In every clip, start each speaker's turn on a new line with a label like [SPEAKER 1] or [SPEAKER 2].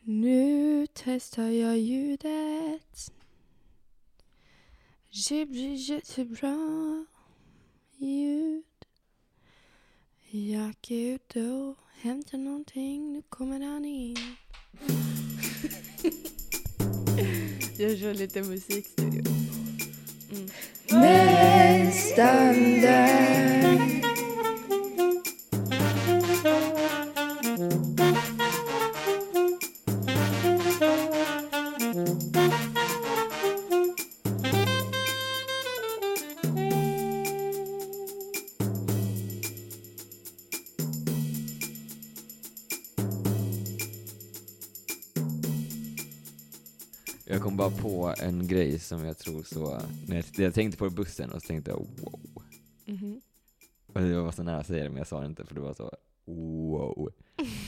[SPEAKER 1] Nu testar jag ljudet. Det blir jättebra ljud. Jag är ute och hämtar någonting. Nu kommer han in.
[SPEAKER 2] Jag kör lite musikstudio. Mm.
[SPEAKER 1] Nästan där.
[SPEAKER 3] Jag kom bara på en grej som jag tror så, när jag, jag tänkte på det i bussen och så tänkte jag wow.
[SPEAKER 2] Mhm.
[SPEAKER 3] Och jag var så nära att säga det men jag sa det inte för det var så wow.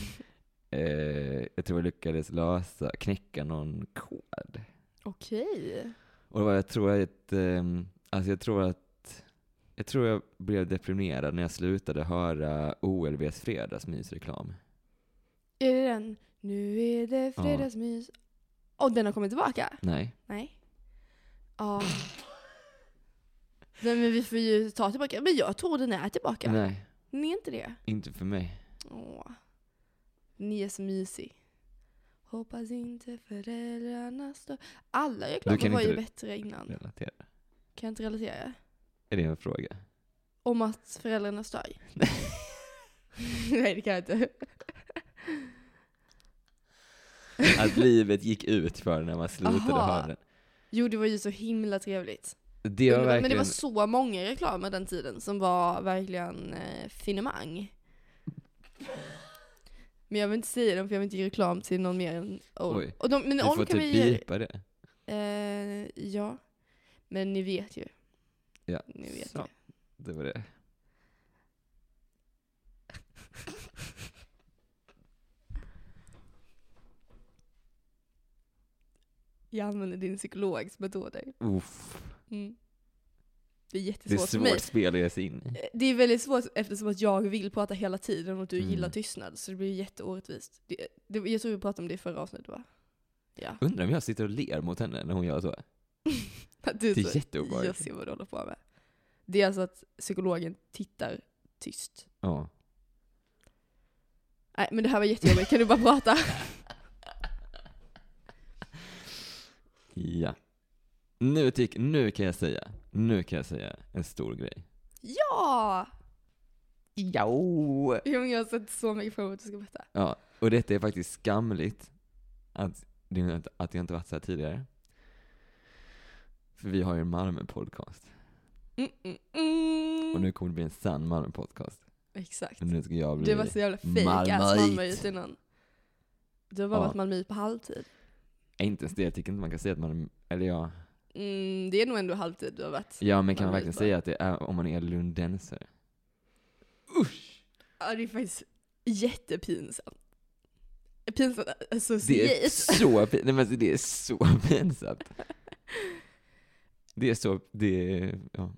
[SPEAKER 3] eh, jag tror jag lyckades lösa, knäcka någon kod.
[SPEAKER 2] Okej.
[SPEAKER 3] Och det var, jag tror att, ehm, alltså jag tror att, jag tror jag blev deprimerad när jag slutade höra OLVs fredagsmysreklam.
[SPEAKER 1] Är det den? Nu är det
[SPEAKER 3] Ja.
[SPEAKER 1] fredagsmys. Och den har kommit tillbaka?
[SPEAKER 3] Nej.
[SPEAKER 1] Nej. Ja. Nej men vi får ju ta tillbaka. Men jag tror den är tillbaka.
[SPEAKER 3] Nej,
[SPEAKER 1] Den är inte det?
[SPEAKER 3] inte för mig.
[SPEAKER 1] Åh. Den är så mysig. Hoppas inte föräldrarna står... Alla
[SPEAKER 3] Du
[SPEAKER 1] reklamer
[SPEAKER 3] kan
[SPEAKER 1] var ju
[SPEAKER 3] inte-
[SPEAKER 1] bättre innan.
[SPEAKER 3] Relatera.
[SPEAKER 1] Kan jag inte relatera?
[SPEAKER 3] Är det en fråga?
[SPEAKER 1] Om att föräldrarna stör. Nej det kan jag inte.
[SPEAKER 3] Att livet gick ut för när man slutade
[SPEAKER 1] Aha.
[SPEAKER 3] höra den.
[SPEAKER 1] Jo det var ju så himla trevligt.
[SPEAKER 3] Det var
[SPEAKER 1] Underbart,
[SPEAKER 3] verkligen...
[SPEAKER 1] Men det var så många reklamer den tiden som var verkligen eh, finemang. Men jag vill inte säga dem för jag vill inte ge reklam till någon mer än Old.
[SPEAKER 3] Oj.
[SPEAKER 1] Och de, men
[SPEAKER 3] Du
[SPEAKER 1] Old
[SPEAKER 3] får
[SPEAKER 1] kan
[SPEAKER 3] typ
[SPEAKER 1] vi ge...
[SPEAKER 3] bipa det.
[SPEAKER 1] Eh, ja. Men ni vet ju.
[SPEAKER 3] Ja.
[SPEAKER 1] Ni vet
[SPEAKER 3] Så.
[SPEAKER 1] ju.
[SPEAKER 3] Det var det.
[SPEAKER 1] Jag använder din psykologs metoder.
[SPEAKER 3] Uff.
[SPEAKER 1] Mm. Det är
[SPEAKER 3] Det är
[SPEAKER 1] jättesvårt
[SPEAKER 3] svårt
[SPEAKER 1] för mig.
[SPEAKER 3] spel att ge sig in i.
[SPEAKER 1] Eh, Det är väldigt svårt eftersom att jag vill prata hela tiden och du
[SPEAKER 3] Mm.
[SPEAKER 1] gillar tystnad. Så det blir jätteorättvist. Det, det, jag tror vi pratade om det i förra avsnittet va? Ja.
[SPEAKER 3] Undrar om jag sitter och ler mot henne när hon gör så.
[SPEAKER 1] Att du
[SPEAKER 3] Det är
[SPEAKER 1] så- Alltså,
[SPEAKER 3] jätteobehagligt.
[SPEAKER 1] Jag ser vad du håller på med. Det är alltså att psykologen tittar tyst.
[SPEAKER 3] Ja.
[SPEAKER 1] Nej men det här var jättejobbigt, kan du bara prata?
[SPEAKER 3] Ja. Nu, tyck, nu kan jag säga, nu kan jag säga en stor grej.
[SPEAKER 1] Ja!
[SPEAKER 3] Ja.
[SPEAKER 1] Jo, men Jag har sett så mycket fram emot att du ska berätta.
[SPEAKER 3] Ja, och detta är faktiskt skamligt att, det är inte- att jag inte varit så här tidigare. För vi har ju en Malmö-podcast.
[SPEAKER 1] Mm, mm, mm.
[SPEAKER 3] Och nu kommer det bli en sann Malmö-podcast.
[SPEAKER 1] Exakt.
[SPEAKER 3] Men Nu ska jag bli...
[SPEAKER 1] Du var så jävla fejk ass
[SPEAKER 3] Malmöit.
[SPEAKER 1] Malmöit innan. Du har bara
[SPEAKER 3] Ja.
[SPEAKER 1] varit Malmöit på halvtid.
[SPEAKER 3] Nej, Inte ens det, jag tycker inte man kan säga att man Eller ja.
[SPEAKER 1] Mm, det är nog ändå halvtid du har varit.
[SPEAKER 3] Ja, men kan man
[SPEAKER 1] Malmö
[SPEAKER 3] verkligen
[SPEAKER 1] bara.
[SPEAKER 3] säga att det är om man är lundensare?
[SPEAKER 1] Ja, det är faktiskt jättepinsamt. Pinsamt alltså,
[SPEAKER 3] Det är
[SPEAKER 1] associate.
[SPEAKER 3] så pin- nej, men alltså, det är så pinsamt. Det är så, det är, ja.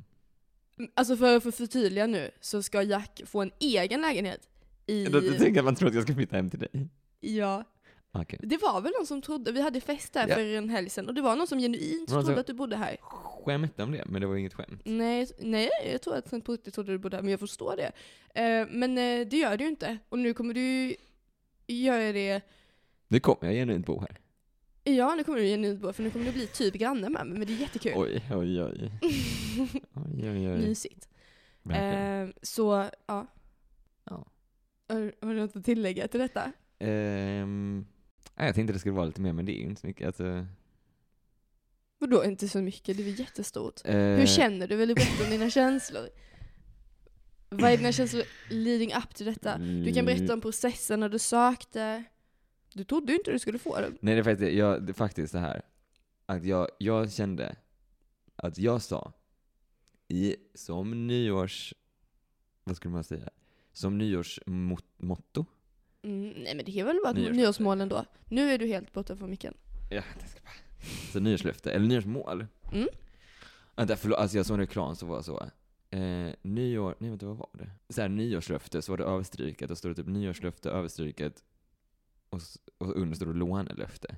[SPEAKER 1] Alltså för att få förtydliga nu så ska Jack få en egen lägenhet i...
[SPEAKER 3] Jag tänker att man tror att jag ska flytta hem till dig.
[SPEAKER 1] Ja.
[SPEAKER 3] Okej.
[SPEAKER 1] Det var väl någon som trodde, vi hade fest där
[SPEAKER 3] Ja.
[SPEAKER 1] för en helg sedan och det var någon som genuint
[SPEAKER 3] Någon som-
[SPEAKER 1] trodde att du bodde här.
[SPEAKER 3] Skämta om det, men det var ju inget skämt.
[SPEAKER 1] Nej, nej, jag tror att han på riktigt trodde du bodde här, men jag förstår det. Eh, men eh, det gör du ju inte. Och nu kommer du ju göra det,
[SPEAKER 3] Nu kommer jag genuint bo här.
[SPEAKER 1] ja nu kommer du genuint bo för nu kommer du bli typ granne med mig, men det är jättekul.
[SPEAKER 3] Oj, oj, oj. Oj, oj, oj.
[SPEAKER 1] Mysigt.
[SPEAKER 3] Verkligen.
[SPEAKER 1] Eh, så, ja.
[SPEAKER 3] Ja.
[SPEAKER 1] Har, har du något att tillägga till detta?
[SPEAKER 3] Ehm, nej, jag tänkte det skulle vara lite mer, men det är ju inte så mycket. Alltså,
[SPEAKER 1] Vadå inte så mycket? Det är väl jättestort.
[SPEAKER 3] eh,
[SPEAKER 1] Hur känner du? Vill du berätta om dina känslor? Vad är dina känslor leading up till detta? Du kan
[SPEAKER 3] Mm.
[SPEAKER 1] berätta om processen när du sökte. Du trodde ju inte du skulle få det.
[SPEAKER 3] Nej, det är faktiskt, jag, det är faktiskt så här. Att jag, jag kände att jag sa i, som nyårs... Vad skulle man säga? Som nyårsmotto.
[SPEAKER 1] Mm, nej men det är väl bara ett
[SPEAKER 3] Nyårslöfte.
[SPEAKER 1] nyårsmål ändå. Nu är du helt borta från micken.
[SPEAKER 3] Ja, det ska bara... Så nyårslöfte, eller nyårsmål.
[SPEAKER 1] Mm.
[SPEAKER 3] Vänta, förlåt. Alltså jag såg en reklam som var så. Eh, nyår... Nej, vänta, vad var det? Så här, nyårslöfte, så var det överstryket. Då stod det typ nyårslöfte, överstryket. och, s- och under står det lånelöfte.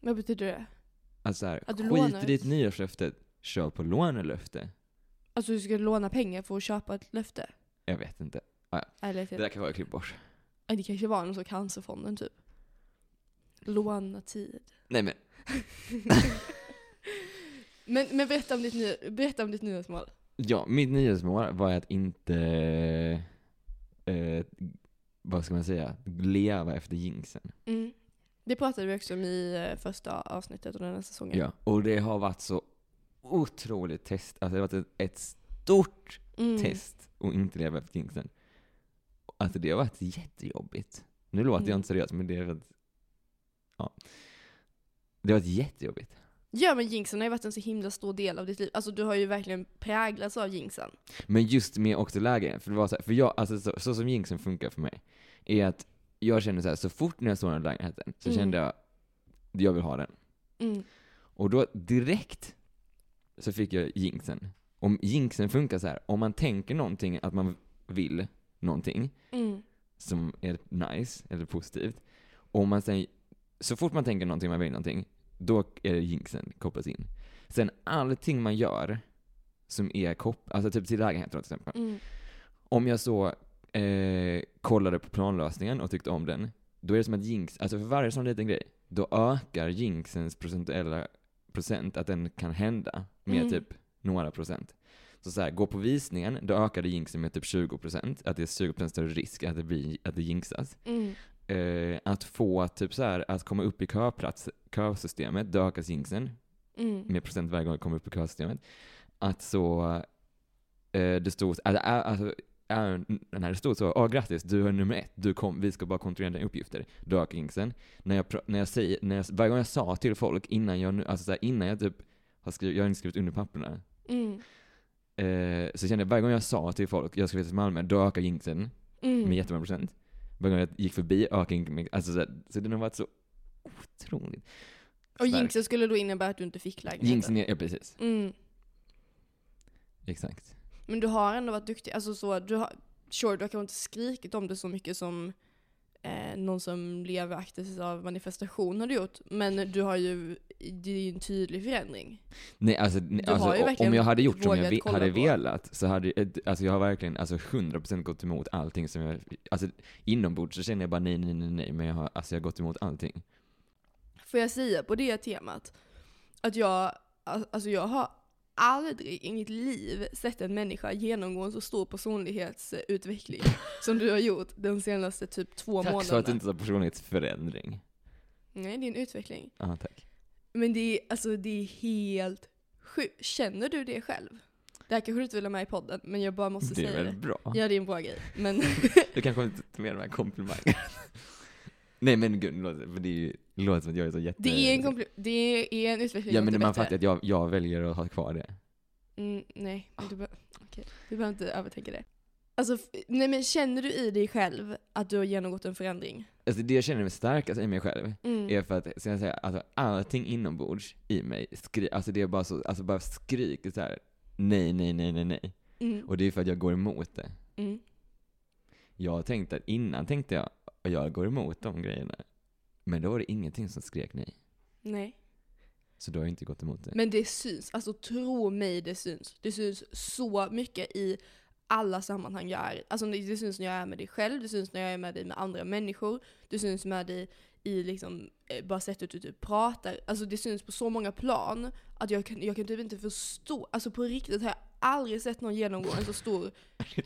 [SPEAKER 1] Vad betyder det?
[SPEAKER 3] Alltså så här,
[SPEAKER 1] Att du
[SPEAKER 3] skit
[SPEAKER 1] lånar.
[SPEAKER 3] i ditt nyårslöfte, kör på lånelöfte.
[SPEAKER 1] Alltså du ska låna pengar för att köpa ett löfte?
[SPEAKER 3] Jag vet inte.
[SPEAKER 1] Eller
[SPEAKER 3] Det
[SPEAKER 1] det,
[SPEAKER 3] där kan vara klipp bort.
[SPEAKER 1] det kanske var någon sån cancerfonden typ. Låna tid.
[SPEAKER 3] Nej men,
[SPEAKER 1] Men, men berätta, om ditt ny, berätta om ditt nyårsmål.
[SPEAKER 3] ja, mitt nyårsmål var att inte, eh, vad ska man säga, leva efter jinxen.
[SPEAKER 1] Mm. Det pratade vi också om i eh, första avsnittet av den här säsongen.
[SPEAKER 3] Ja. Och det har varit så otroligt test, alltså det har varit ett, ett stort
[SPEAKER 1] Mm.
[SPEAKER 3] test att inte leva efter jinxen. Alltså det har varit jättejobbigt. Nu låter jag
[SPEAKER 1] Mm.
[SPEAKER 3] inte seriös, men det har varit, ja. Det har varit jättejobbigt.
[SPEAKER 1] Ja men jinxen har ju varit en så himla stor del av ditt liv. Alltså du har ju verkligen präglats av jinxen.
[SPEAKER 3] Men just med också lägen, för det var så, här, för jag, alltså så, så som jinxen funkar för mig, är att jag känner så här, så fort när jag såg den här lägenheten så
[SPEAKER 1] Mm.
[SPEAKER 3] kände jag, jag vill ha den.
[SPEAKER 1] Mm.
[SPEAKER 3] Och då direkt så fick jag jinxen. Om jinxen funkar så här, om man tänker någonting, att man vill någonting
[SPEAKER 1] Mm.
[SPEAKER 3] som är nice eller positivt, och man sen, så fort man tänker någonting, man vill någonting, då är det jinxen kopplas in. Sen allting man gör som är kopplat, alltså typ till lägenheten till exempel.
[SPEAKER 1] Mm.
[SPEAKER 3] Om jag så eh, kollade på planlösningen och tyckte om den, då är det som att jinx, alltså för varje sån liten grej, då ökar jinxens procentuella procent, att den kan hända med
[SPEAKER 1] Mm.
[SPEAKER 3] typ några procent. Så så här, gå på visningen, då ökade jinxen med typ 20%, att det är 20% större risk att det, blir, att det jinxas.
[SPEAKER 1] Mm.
[SPEAKER 3] Eh, att få typ så här, att komma upp i köplats, kösystemet, då ökas jinxen
[SPEAKER 1] Mm.
[SPEAKER 3] med procent varje gång jag kommer upp i kösystemet. Att så, eh, det stod, alltså, ä- alltså, ä- när det stod så, åh grattis, du är nummer ett, du kom, vi ska bara kontrollera dina uppgifter. Då ökar jinxen. När jag, pra- när jag säger, när jag, varje gång jag sa till folk innan jag, nu- alltså, så här, innan jag typ, har skrivit, jag har inte skrivit under papperna,
[SPEAKER 1] Mm.
[SPEAKER 3] eh, så kände jag varje gång jag sa till folk, jag ska flytta till Malmö, då ökar jinxen
[SPEAKER 1] Mm.
[SPEAKER 3] med jättemånga procent. Varje gång jag gick förbi ökade jinxen, med- alltså, så, här, så den har varit så otroligt.
[SPEAKER 1] Och
[SPEAKER 3] stark.
[SPEAKER 1] jinxen skulle då innebära att du inte fick lägenheten?
[SPEAKER 3] Jinxen är, ja precis,
[SPEAKER 1] Mm.
[SPEAKER 3] exakt.
[SPEAKER 1] Men du har ändå varit duktig. Alltså så, du har, sure, du har kanske inte skrikit om det så mycket som eh, någon som lever aktivt av manifestation har du gjort. Men du har ju, det är ju en tydlig förändring.
[SPEAKER 3] Nej, alltså, nej,
[SPEAKER 1] Du har
[SPEAKER 3] alltså
[SPEAKER 1] ju
[SPEAKER 3] o-
[SPEAKER 1] verkligen
[SPEAKER 3] om jag hade gjort som jag
[SPEAKER 1] vågat
[SPEAKER 3] ve-
[SPEAKER 1] kolla
[SPEAKER 3] hade
[SPEAKER 1] på.
[SPEAKER 3] velat så hade eh, alltså, jag har verkligen alltså, 100% gått emot allting som jag, alltså inombords så känner jag bara nej, nej, nej, nej, men jag har, alltså, jag har gått emot allting.
[SPEAKER 1] Får jag säga på det temat att jag, al- alltså jag har aldrig i mitt liv sett en människa genomgå en så stor personlighetsutveckling som du har gjort den senaste typ två
[SPEAKER 3] Tack för
[SPEAKER 1] månaderna.
[SPEAKER 3] att du inte sa personlighetsförändring.
[SPEAKER 1] Nej, det är en utveckling.
[SPEAKER 3] Ja, tack.
[SPEAKER 1] Men det är, alltså, det är helt sjukt. Känner du det själv? Det här kanske du inte vill ha med i podden, men jag bara måste
[SPEAKER 3] Det
[SPEAKER 1] säga
[SPEAKER 3] är väl
[SPEAKER 1] det.
[SPEAKER 3] bra?
[SPEAKER 1] Ja, det är en bra grej. Men
[SPEAKER 3] Du kanske inte tar med de här komplimangerna. nej men gud, det låter, för det är ju, det låter som att jag är så jätte...
[SPEAKER 1] det är en, kompli- det är en utveckling
[SPEAKER 3] Ja
[SPEAKER 1] mot
[SPEAKER 3] men
[SPEAKER 1] det
[SPEAKER 3] man
[SPEAKER 1] bättre.
[SPEAKER 3] fattar att jag, jag väljer att ha kvar det.
[SPEAKER 1] Mm, nej, men du, be- okej. du behöver inte övertänka det. Alltså, f- nej, men känner du i dig själv att du har genomgått en förändring?
[SPEAKER 3] Alltså det jag känner mig starkast i mig själv,
[SPEAKER 1] Mm.
[SPEAKER 3] är för att, ska jag säga, alltså, allting inombords i mig, skri- alltså det är bara så, alltså bara skriker så här. nej, nej, nej, nej, nej.
[SPEAKER 1] Mm.
[SPEAKER 3] Och det är för att jag går emot det.
[SPEAKER 1] Mm.
[SPEAKER 3] Jag tänkte att innan tänkte jag, "Och jag går emot de grejerna. Men då var det ingenting som skrek nej.
[SPEAKER 1] Nej.
[SPEAKER 3] Så då har jag inte gått emot det.
[SPEAKER 1] Men det syns. Alltså tro mig, det syns. Det syns så mycket i alla sammanhang jag är i. Alltså det det syns när jag är med dig själv, det syns när jag är med dig med andra människor, det syns med dig i liksom, eh, bara sättet du typ pratar. Alltså det syns på så många plan att jag kan, jag kan typ inte förstå. Alltså på riktigt har jag aldrig sett någon genomgå en så stor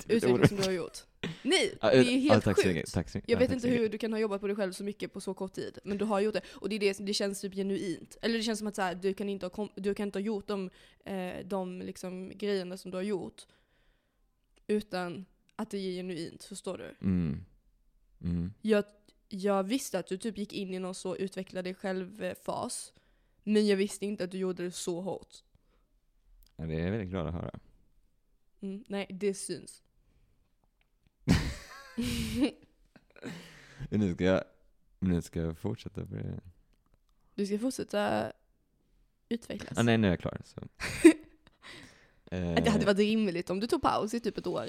[SPEAKER 1] utveckling som du har gjort. Nej,
[SPEAKER 3] Ja,
[SPEAKER 1] det är
[SPEAKER 3] ja,
[SPEAKER 1] helt
[SPEAKER 3] tack så mycket,
[SPEAKER 1] sjukt.
[SPEAKER 3] tack så mycket.
[SPEAKER 1] Jag
[SPEAKER 3] Ja,
[SPEAKER 1] vet
[SPEAKER 3] tack
[SPEAKER 1] inte
[SPEAKER 3] så mycket.
[SPEAKER 1] hur du kan ha jobbat på dig själv så mycket på så kort tid, men du har gjort det. Och det, är det, som- det känns typ genuint. Eller det känns som att så här, du, kan inte ha kom, du kan inte ha gjort de, eh, de liksom grejerna som du har gjort utan att det är genuint, förstår du?
[SPEAKER 3] Mm. Mm.
[SPEAKER 1] Jag, jag visste att du typ gick in i någon så utveckla dig själv-fas, men jag visste inte att du gjorde det så hårt.
[SPEAKER 3] Ja, det är jag väldigt glad att höra.
[SPEAKER 1] Mm, nej, det syns.
[SPEAKER 3] Nu ska jag, nu ska jag fortsätta på det. Ah,
[SPEAKER 1] Du ska fortsätta utvecklas.
[SPEAKER 3] Ah, nej, nu är jag klar. Så.
[SPEAKER 1] Att Det hade
[SPEAKER 3] Eh,
[SPEAKER 1] varit rimligt om du tog paus i typ ett år.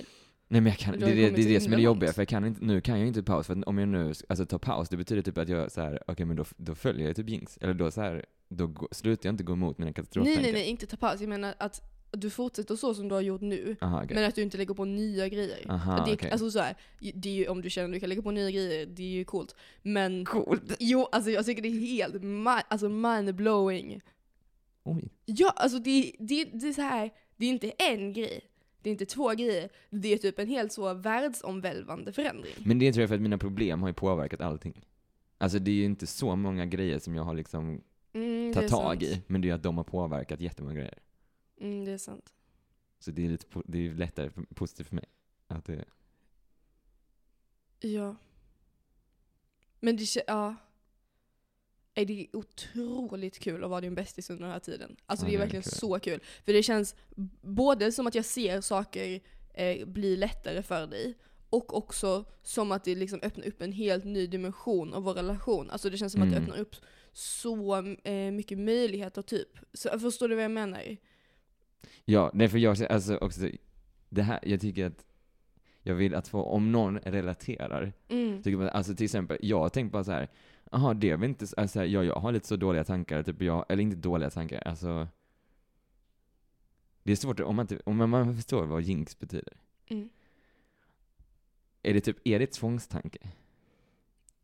[SPEAKER 3] Nej men jag kan,
[SPEAKER 1] Men
[SPEAKER 3] det,
[SPEAKER 1] du har
[SPEAKER 3] är
[SPEAKER 1] ju
[SPEAKER 3] det, det
[SPEAKER 1] kommit
[SPEAKER 3] är
[SPEAKER 1] så himla
[SPEAKER 3] det som är det
[SPEAKER 1] långt.
[SPEAKER 3] jobbiga, för jag kan inte, nu kan jag inte paus, för att om jag nu alltså, tar paus, det betyder typ att jag så här, okej men då, då följer jag typ jinx, eller då så här, då går- slutar jag inte gå emot mina
[SPEAKER 1] Nej
[SPEAKER 3] katastroftankar.
[SPEAKER 1] nej nej, inte ta paus. Jag menar att du fortsätter så som du har gjort nu.
[SPEAKER 3] Aha, okej.
[SPEAKER 1] Men att du inte lägger på nya grejer.
[SPEAKER 3] Aha,
[SPEAKER 1] det, är-
[SPEAKER 3] okej.
[SPEAKER 1] Alltså så här, det är ju, om du känner att du kan lägga på nya grejer, det är ju coolt. Men... Coolt? Jo, alltså jag tycker det är helt ma- alltså mind-blowing.
[SPEAKER 3] Oj.
[SPEAKER 1] Ja, alltså det, det, det är så här, det är inte en grej. Det är inte två grejer. Det är typ en helt så världsomvälvande förändring.
[SPEAKER 3] Men det tror jag för att mina problem har ju påverkat allting. Alltså det är ju inte så många grejer som jag har liksom
[SPEAKER 1] Mm, det
[SPEAKER 3] tagit
[SPEAKER 1] är
[SPEAKER 3] tag
[SPEAKER 1] sant.
[SPEAKER 3] i, men det är ju att de har påverkat jättemånga grejer.
[SPEAKER 1] Mm, det är sant.
[SPEAKER 3] Så det är lite, po- det är ju lättare för, positivt för mig. Att eh, det,
[SPEAKER 1] Ja. Men det kä- ja. Nej, Det är otroligt kul att vara din bästis under den här tiden. Alltså
[SPEAKER 3] Ja,
[SPEAKER 1] det är
[SPEAKER 3] det är
[SPEAKER 1] verkligen
[SPEAKER 3] kul.
[SPEAKER 1] så kul. För det känns b- både som att jag ser saker eh, bli lättare för dig och också som att det liksom öppnar upp en helt ny dimension av vår relation. Alltså det känns som att
[SPEAKER 3] Mm.
[SPEAKER 1] det öppnar upp så eh, mycket möjligheter typ. Så, förstår du vad jag menar?
[SPEAKER 3] Ja, nej för jag alltså också, det här, jag tycker att jag vill att få, om någon relaterar,
[SPEAKER 1] Mm.
[SPEAKER 3] tycker man, alltså till exempel, jag har tänkt bara så här, jaha det är väl inte, så- alltså så här, ja, jag har lite så dåliga tankar, typ jag, eller inte dåliga tankar, alltså det är svårt, om man, inte, om man- man förstår vad jinx betyder.
[SPEAKER 1] Mm.
[SPEAKER 3] Är det typ, är det tvångstanke?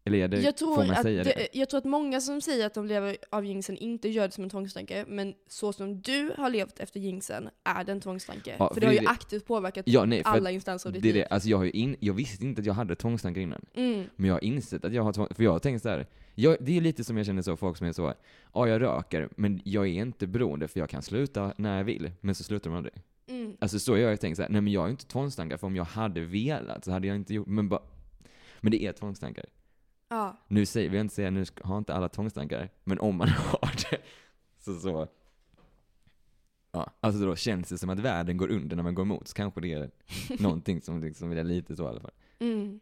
[SPEAKER 3] Eller är det,
[SPEAKER 1] jag,
[SPEAKER 3] får
[SPEAKER 1] tror
[SPEAKER 3] man
[SPEAKER 1] att
[SPEAKER 3] säga det?
[SPEAKER 1] det, jag tror att många som säger att de lever av jinxen inte gör det som en tvångstanke, men så som du har levt efter jinxen är det en tvångstanke.
[SPEAKER 3] Ja,
[SPEAKER 1] för
[SPEAKER 3] för
[SPEAKER 1] det har
[SPEAKER 3] det
[SPEAKER 1] ju
[SPEAKER 3] är det-
[SPEAKER 1] aktivt påverkat
[SPEAKER 3] Ja, nej, för
[SPEAKER 1] alla instanser av
[SPEAKER 3] att
[SPEAKER 1] ditt
[SPEAKER 3] det är
[SPEAKER 1] liv.
[SPEAKER 3] det, alltså jag har ju in, jag visste inte att jag hade tvångstankar innan.
[SPEAKER 1] Mm.
[SPEAKER 3] Men jag har insett att jag har tvång, för jag har tänkt så här. Jag, det är lite som jag känner så, folk som är så, ja jag röker, men jag är inte beroende för jag kan sluta när jag vill, men så slutar de aldrig.
[SPEAKER 1] Mm.
[SPEAKER 3] Alltså så har jag tänkt så här, nej men jag har ju inte tvångstankar, för om jag hade velat så hade jag inte gjort, men bara, men det är tvångstankar.
[SPEAKER 1] Ja.
[SPEAKER 3] Nu säger, vi inte säga, nu ska- har inte alla tvångstankar, men om man har det, så så. Ja, alltså då känns det som att världen går under när man går emot, så kanske det är någonting som liksom är lite så i alla fall.
[SPEAKER 1] Mm.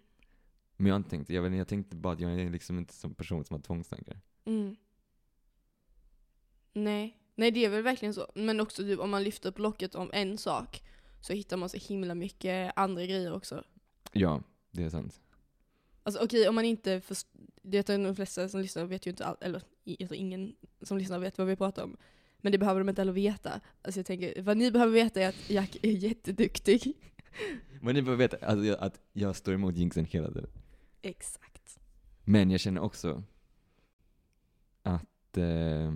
[SPEAKER 3] Men jag har inte tänkt, jag, vet inte, jag tänkte bara att jag är liksom inte som person som har tvångstankar.
[SPEAKER 1] Mm. Nej. Nej, det är väl verkligen så. Men också typ, om man lyfter upp locket om en sak så hittar man så himla mycket andra grejer också.
[SPEAKER 3] Ja, det är sant.
[SPEAKER 1] Alltså okej, om man inte först- det är de flesta som lyssnar vet ju inte allt, eller i- jag tror ingen som lyssnar vet vad vi pratar om. Men det behöver de inte heller veta. Alltså jag tänker, vad ni behöver veta är att Jack är jätteduktig.
[SPEAKER 3] Men ni behöver veta alltså, jag, att jag står emot jinxen hela tiden.
[SPEAKER 1] Exakt.
[SPEAKER 3] Men jag känner också att... Eh,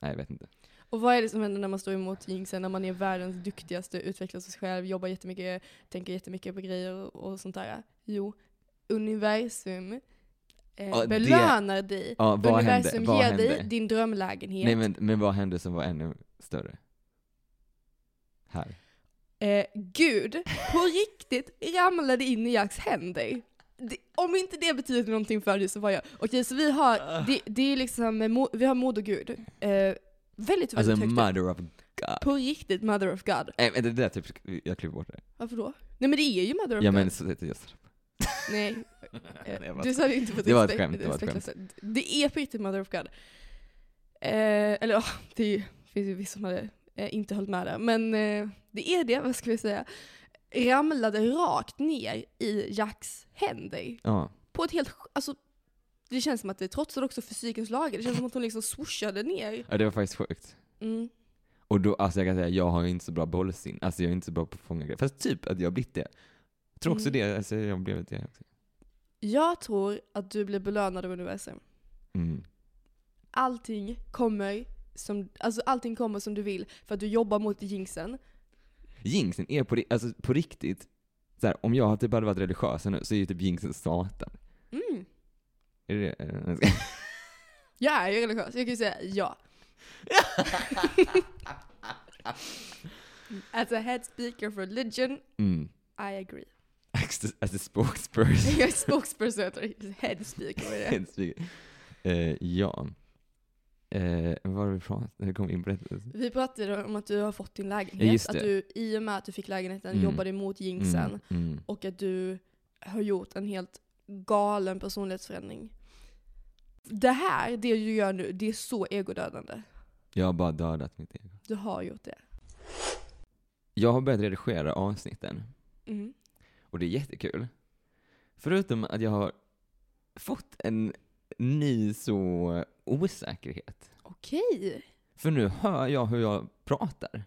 [SPEAKER 3] nej, jag vet inte.
[SPEAKER 1] Och vad är det som händer när man står emot jinxen, när man är världens duktigaste, utvecklar sig själv, jobbar jättemycket, tänker jättemycket på grejer och, och sånt där? Jo, universum eh,
[SPEAKER 3] Ja, det-
[SPEAKER 1] belönar dig.
[SPEAKER 3] Ja, vad
[SPEAKER 1] universum
[SPEAKER 3] hände? Vad
[SPEAKER 1] ger
[SPEAKER 3] hände?
[SPEAKER 1] dig din drömlägenhet.
[SPEAKER 3] Nej, men, men vad hände som var ännu större? Här.
[SPEAKER 1] eh, Gud på riktigt ramlade in i Jacks händer. Det, om inte det betyder någonting för dig så var jag... Okej, så vi har, det, det är liksom, eh, mo- vi har moder Gud. Eh, väldigt, väldigt
[SPEAKER 3] Alltså
[SPEAKER 1] högt upp.
[SPEAKER 3] mother of God.
[SPEAKER 1] På riktigt mother of God.
[SPEAKER 3] Nej, men det där typ, jag klipper bort det.
[SPEAKER 1] Varför då? Nej men det är ju mother of
[SPEAKER 3] Ja
[SPEAKER 1] God.
[SPEAKER 3] men så heter jag
[SPEAKER 1] Nej,
[SPEAKER 3] Nej, jag
[SPEAKER 1] eh,
[SPEAKER 3] bara-
[SPEAKER 1] du sa det inte på ett
[SPEAKER 3] Det var ett
[SPEAKER 1] respekt-
[SPEAKER 3] skämt, det var ett
[SPEAKER 1] respektlöst sätt. Det är på riktigt mother of God. Eh, eller ja, det är ju- finns ju vissa som hade eh, inte hållit med där. Men eh, det är det, vad ska vi säga? Ramlade rakt ner i Jacks händer.
[SPEAKER 3] Ja.
[SPEAKER 1] på ett helt... sj- Alltså, det känns som att det trotsade också fysikens lagar. Det känns som att hon liksom swooshade ner.
[SPEAKER 3] ja, det var faktiskt sjukt.
[SPEAKER 1] Mm.
[SPEAKER 3] Och då, alltså jag kan säga, jag har ju inte så bra bollsinn. Alltså jag är inte så bra på att fånga grejer. Fast typ att jag har blivit det. Jag tror också
[SPEAKER 1] Mm.
[SPEAKER 3] det, alltså jag har blivit det också.
[SPEAKER 1] Jag tror att du blir belönad av universum.
[SPEAKER 3] Mm.
[SPEAKER 1] Allting kommer som, alltså allting kommer som du vill för att du jobbar mot jinxen.
[SPEAKER 3] Jinxen är på, ri- alltså, på riktigt, så här, om jag typ hade varit religiös nu så är ju typ jinxen satan.
[SPEAKER 1] Mm.
[SPEAKER 3] Är det det?
[SPEAKER 1] Jag är ju religiös, jag kan ju säga ja. As a head speaker for religion,
[SPEAKER 3] Mm.
[SPEAKER 1] I agree.
[SPEAKER 3] As a- As a spokesperson.
[SPEAKER 1] Jag är spokesperson, för head speaker. vad är det?
[SPEAKER 3] Eh, ja. Eh, vad var det vi pratade om? Hur kom vi in på det?
[SPEAKER 1] Vi pratade om att du har fått din
[SPEAKER 3] Ja,
[SPEAKER 1] lägenhet,
[SPEAKER 3] just
[SPEAKER 1] att
[SPEAKER 3] det.
[SPEAKER 1] du i och med att du fick lägenheten
[SPEAKER 3] Mm.
[SPEAKER 1] jobbade emot jinxen
[SPEAKER 3] Mm, mm.
[SPEAKER 1] och att du har gjort en helt galen personlighetsförändring. Det här, det du gör nu, det är så egodödande.
[SPEAKER 3] Jag har bara dödat mitt ego.
[SPEAKER 1] Du har gjort det.
[SPEAKER 3] Jag har börjat redigera avsnitten.
[SPEAKER 1] Mm.
[SPEAKER 3] Och det är jättekul. Förutom att jag har fått en ny så osäkerhet.
[SPEAKER 1] Okej.
[SPEAKER 3] För nu hör jag hur jag pratar.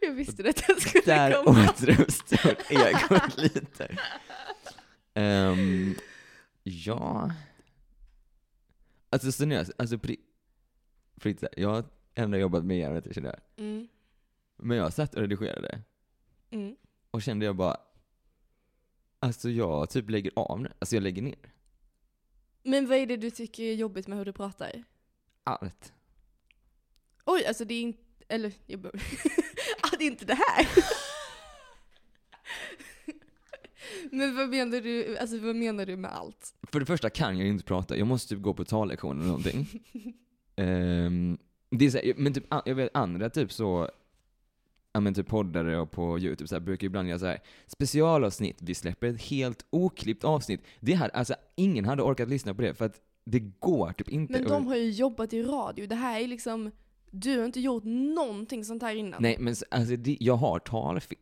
[SPEAKER 1] Jag visste att jag skulle
[SPEAKER 3] Där
[SPEAKER 1] komma.
[SPEAKER 3] återuppstår egot lite. Ehm, ja. Alltså seriöst, alltså på ri- på riktigt så här, jag har ändå jobbat med hjärnet, känner jag.
[SPEAKER 1] Mm.
[SPEAKER 3] Men jag satt och redigerade
[SPEAKER 1] Mm.
[SPEAKER 3] och kände jag bara, alltså jag typ lägger av nu. Alltså jag lägger ner
[SPEAKER 1] Men vad är det du tycker är jobbigt med hur du pratar?
[SPEAKER 3] allt.
[SPEAKER 1] Oj, alltså det är inte... Eller, jag behöver... ah, det är inte det här! Men vad menar du, alltså vad menar du med allt?
[SPEAKER 3] För det första kan jag ju inte prata, jag måste typ gå på tallektion eller någonting. Ehm, det är så här, men typ, an- jag vet andra typ så, ja men typ poddare och på youtube så här, brukar ibland göra så här specialavsnitt, vi släpper ett helt oklippt avsnitt. Det här, alltså ingen hade orkat lyssna på det för att det går typ inte.
[SPEAKER 1] Men
[SPEAKER 3] Och-
[SPEAKER 1] de har ju jobbat i radio, det här är liksom... Du har inte gjort någonting sånt här innan.
[SPEAKER 3] Nej men s- alltså det, jag har talfel.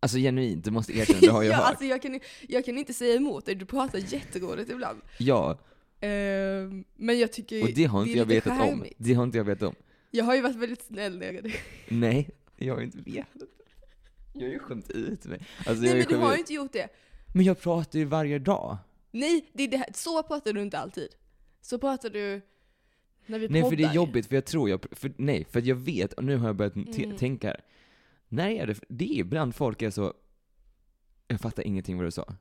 [SPEAKER 3] Alltså genuint, du måste erkänna, det har jag
[SPEAKER 1] ja,
[SPEAKER 3] hört.
[SPEAKER 1] alltså jag, kan, jag kan inte säga emot dig, du pratar jätteroligt ibland.
[SPEAKER 3] Ja,
[SPEAKER 1] Ehm, men jag tycker
[SPEAKER 3] och det har inte
[SPEAKER 1] är
[SPEAKER 3] jag
[SPEAKER 1] lite
[SPEAKER 3] vetat om. Alltså,
[SPEAKER 1] charmigt.
[SPEAKER 3] Det har inte jag vetat om.
[SPEAKER 1] Jag har ju varit väldigt snäll när jag redigerar.
[SPEAKER 3] Nej, jag har inte vetat. Jag har ju skämt ut mig. Alltså, jag
[SPEAKER 1] Nej men du
[SPEAKER 3] skämt
[SPEAKER 1] har
[SPEAKER 3] ut-
[SPEAKER 1] ju inte gjort det.
[SPEAKER 3] men jag pratar ju varje dag.
[SPEAKER 1] Nej, det är det här. så pratar du inte alltid. Så pratar du när vi
[SPEAKER 3] Nej
[SPEAKER 1] poddar.
[SPEAKER 3] för det är jobbigt för jag tror jag, för, nej för att jag vet, och nu har jag börjat te-
[SPEAKER 1] Mm.
[SPEAKER 3] tänka här. När är det, det är ibland folk är så, jag fattar ingenting vad du sa.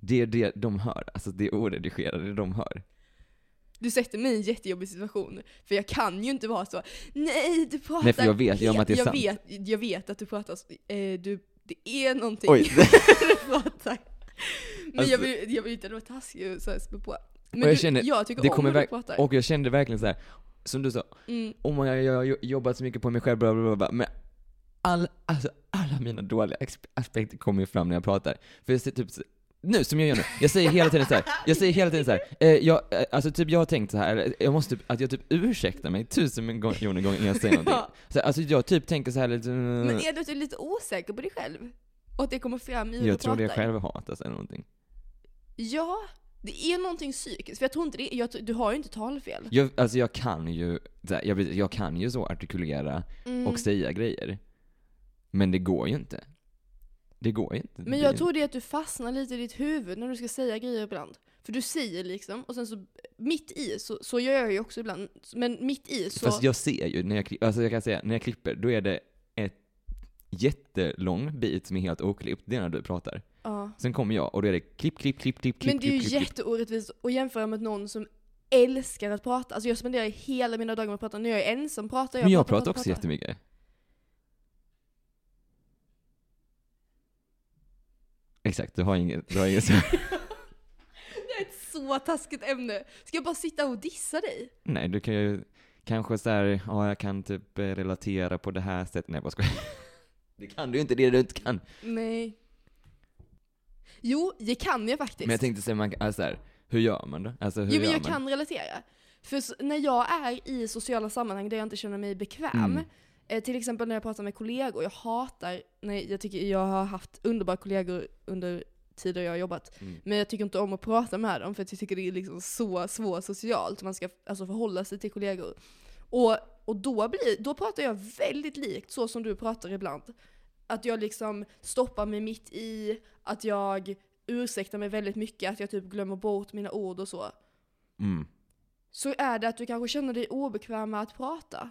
[SPEAKER 3] Det är det de hör, alltså det oredigerade de hör.
[SPEAKER 1] Du sätter mig i en jättejobbig situation. För jag kan ju inte vara så, nej du pratar
[SPEAKER 3] Nej, för jag vet ju om
[SPEAKER 1] helt-
[SPEAKER 3] att det är
[SPEAKER 1] jag
[SPEAKER 3] sant.
[SPEAKER 1] Vet, jag vet att du pratar, så- eh, du, det är någonting
[SPEAKER 3] Oj.
[SPEAKER 1] du pratar. Men
[SPEAKER 3] Alltså-
[SPEAKER 1] jag, vill, jag vill inte vara taskig och så här spä på. Men
[SPEAKER 3] Och jag
[SPEAKER 1] du,
[SPEAKER 3] känner,
[SPEAKER 1] jag tycker
[SPEAKER 3] det
[SPEAKER 1] om
[SPEAKER 3] kommer
[SPEAKER 1] hur du
[SPEAKER 3] verk-
[SPEAKER 1] pratar.
[SPEAKER 3] Och jag kände verkligen så här, som du sa,
[SPEAKER 1] mm.
[SPEAKER 3] oh my god, jag har jo- jobbat så mycket på mig själv, bla bla bla. bla. Men all, alltså, alla mina dåliga exp- aspekter kommer ju fram när jag pratar. För jag ser typ så- nu som jag gör nu, jag säger hela tiden så här. jag säger hela tiden så här. Eh, jag, eh, alltså typ jag har tänkt så här. eller jag måste typ, att jag typ ursäktar mig tusen miljoner gånger innan jag säger någonting.
[SPEAKER 1] Ja.
[SPEAKER 3] Så, här, alltså jag typ tänker så här lite,
[SPEAKER 1] Men är du inte lite osäker på dig själv? Och att det kommer fram i hur
[SPEAKER 3] jag
[SPEAKER 1] du
[SPEAKER 3] tror det är
[SPEAKER 1] pratar?
[SPEAKER 3] självhatas eller någonting.
[SPEAKER 1] Ja, det är någonting psykiskt. För jag tror inte det, jag, tror- du har ju inte talfel.
[SPEAKER 3] Jag, alltså jag kan ju, så här, jag, blir- jag kan ju så artikulera
[SPEAKER 1] Mm.
[SPEAKER 3] och säga grejer. Men det går ju inte. Det går ju inte. Det
[SPEAKER 1] Men
[SPEAKER 3] blir
[SPEAKER 1] jag
[SPEAKER 3] ju-
[SPEAKER 1] tror det är att du fastnar lite i ditt huvud när du ska säga grejer ibland. För du säger liksom, och sen så mitt i, så, så gör jag ju också ibland, men mitt i så...
[SPEAKER 3] Fast jag ser ju, när jag, kli- alltså jag kan säga, när jag klipper, då är det ett jättelång bit som är helt oklippt. Det är när du pratar.
[SPEAKER 1] ja.
[SPEAKER 3] Sen kommer jag och då är det klipp, klipp, klipp, klipp, klipp,
[SPEAKER 1] Men det är ju
[SPEAKER 3] klipp, klipp, klipp.
[SPEAKER 1] jätteorättvist att jämföra med någon som älskar att prata. Alltså jag spenderar hela mina dagar med att prata. När jag är ensam pratar jag.
[SPEAKER 3] Men jag pratar också
[SPEAKER 1] pratar.
[SPEAKER 3] jättemycket. Exakt, du har inget, du har inget svar.
[SPEAKER 1] Det är ett så taskigt ämne. Ska jag bara sitta och dissa dig?
[SPEAKER 3] Nej, du kan ju kanske såhär, ja jag kan typ eh, relatera på det här sättet. Nej, vad ska Det kan du ju inte, det är det du inte kan.
[SPEAKER 1] Nej. Jo, det kan jag faktiskt.
[SPEAKER 3] Men jag tänkte säga, man, kan- alltså, så här, hur gör man då? Alltså, hur
[SPEAKER 1] Jo men
[SPEAKER 3] gör
[SPEAKER 1] jag
[SPEAKER 3] man?
[SPEAKER 1] kan relatera. För s- när jag är i sociala sammanhang där jag inte känner mig bekväm,
[SPEAKER 3] Mm.
[SPEAKER 1] eh, till exempel när jag pratar med kollegor, jag hatar, nej jag tycker jag har haft underbara kollegor under tider jag har jobbat,
[SPEAKER 3] Mm.
[SPEAKER 1] men jag tycker inte om att prata med dem för att jag tycker det är liksom så svårt socialt, man ska alltså, förhålla sig till kollegor. Och, och då, blir, då pratar jag väldigt likt så som du pratar ibland. Att jag liksom stoppar mig mitt i, att jag ursäktar mig väldigt mycket, att jag typ glömmer bort mina ord och så
[SPEAKER 3] Mm.
[SPEAKER 1] så är det att du kanske känner dig obekväm med att prata.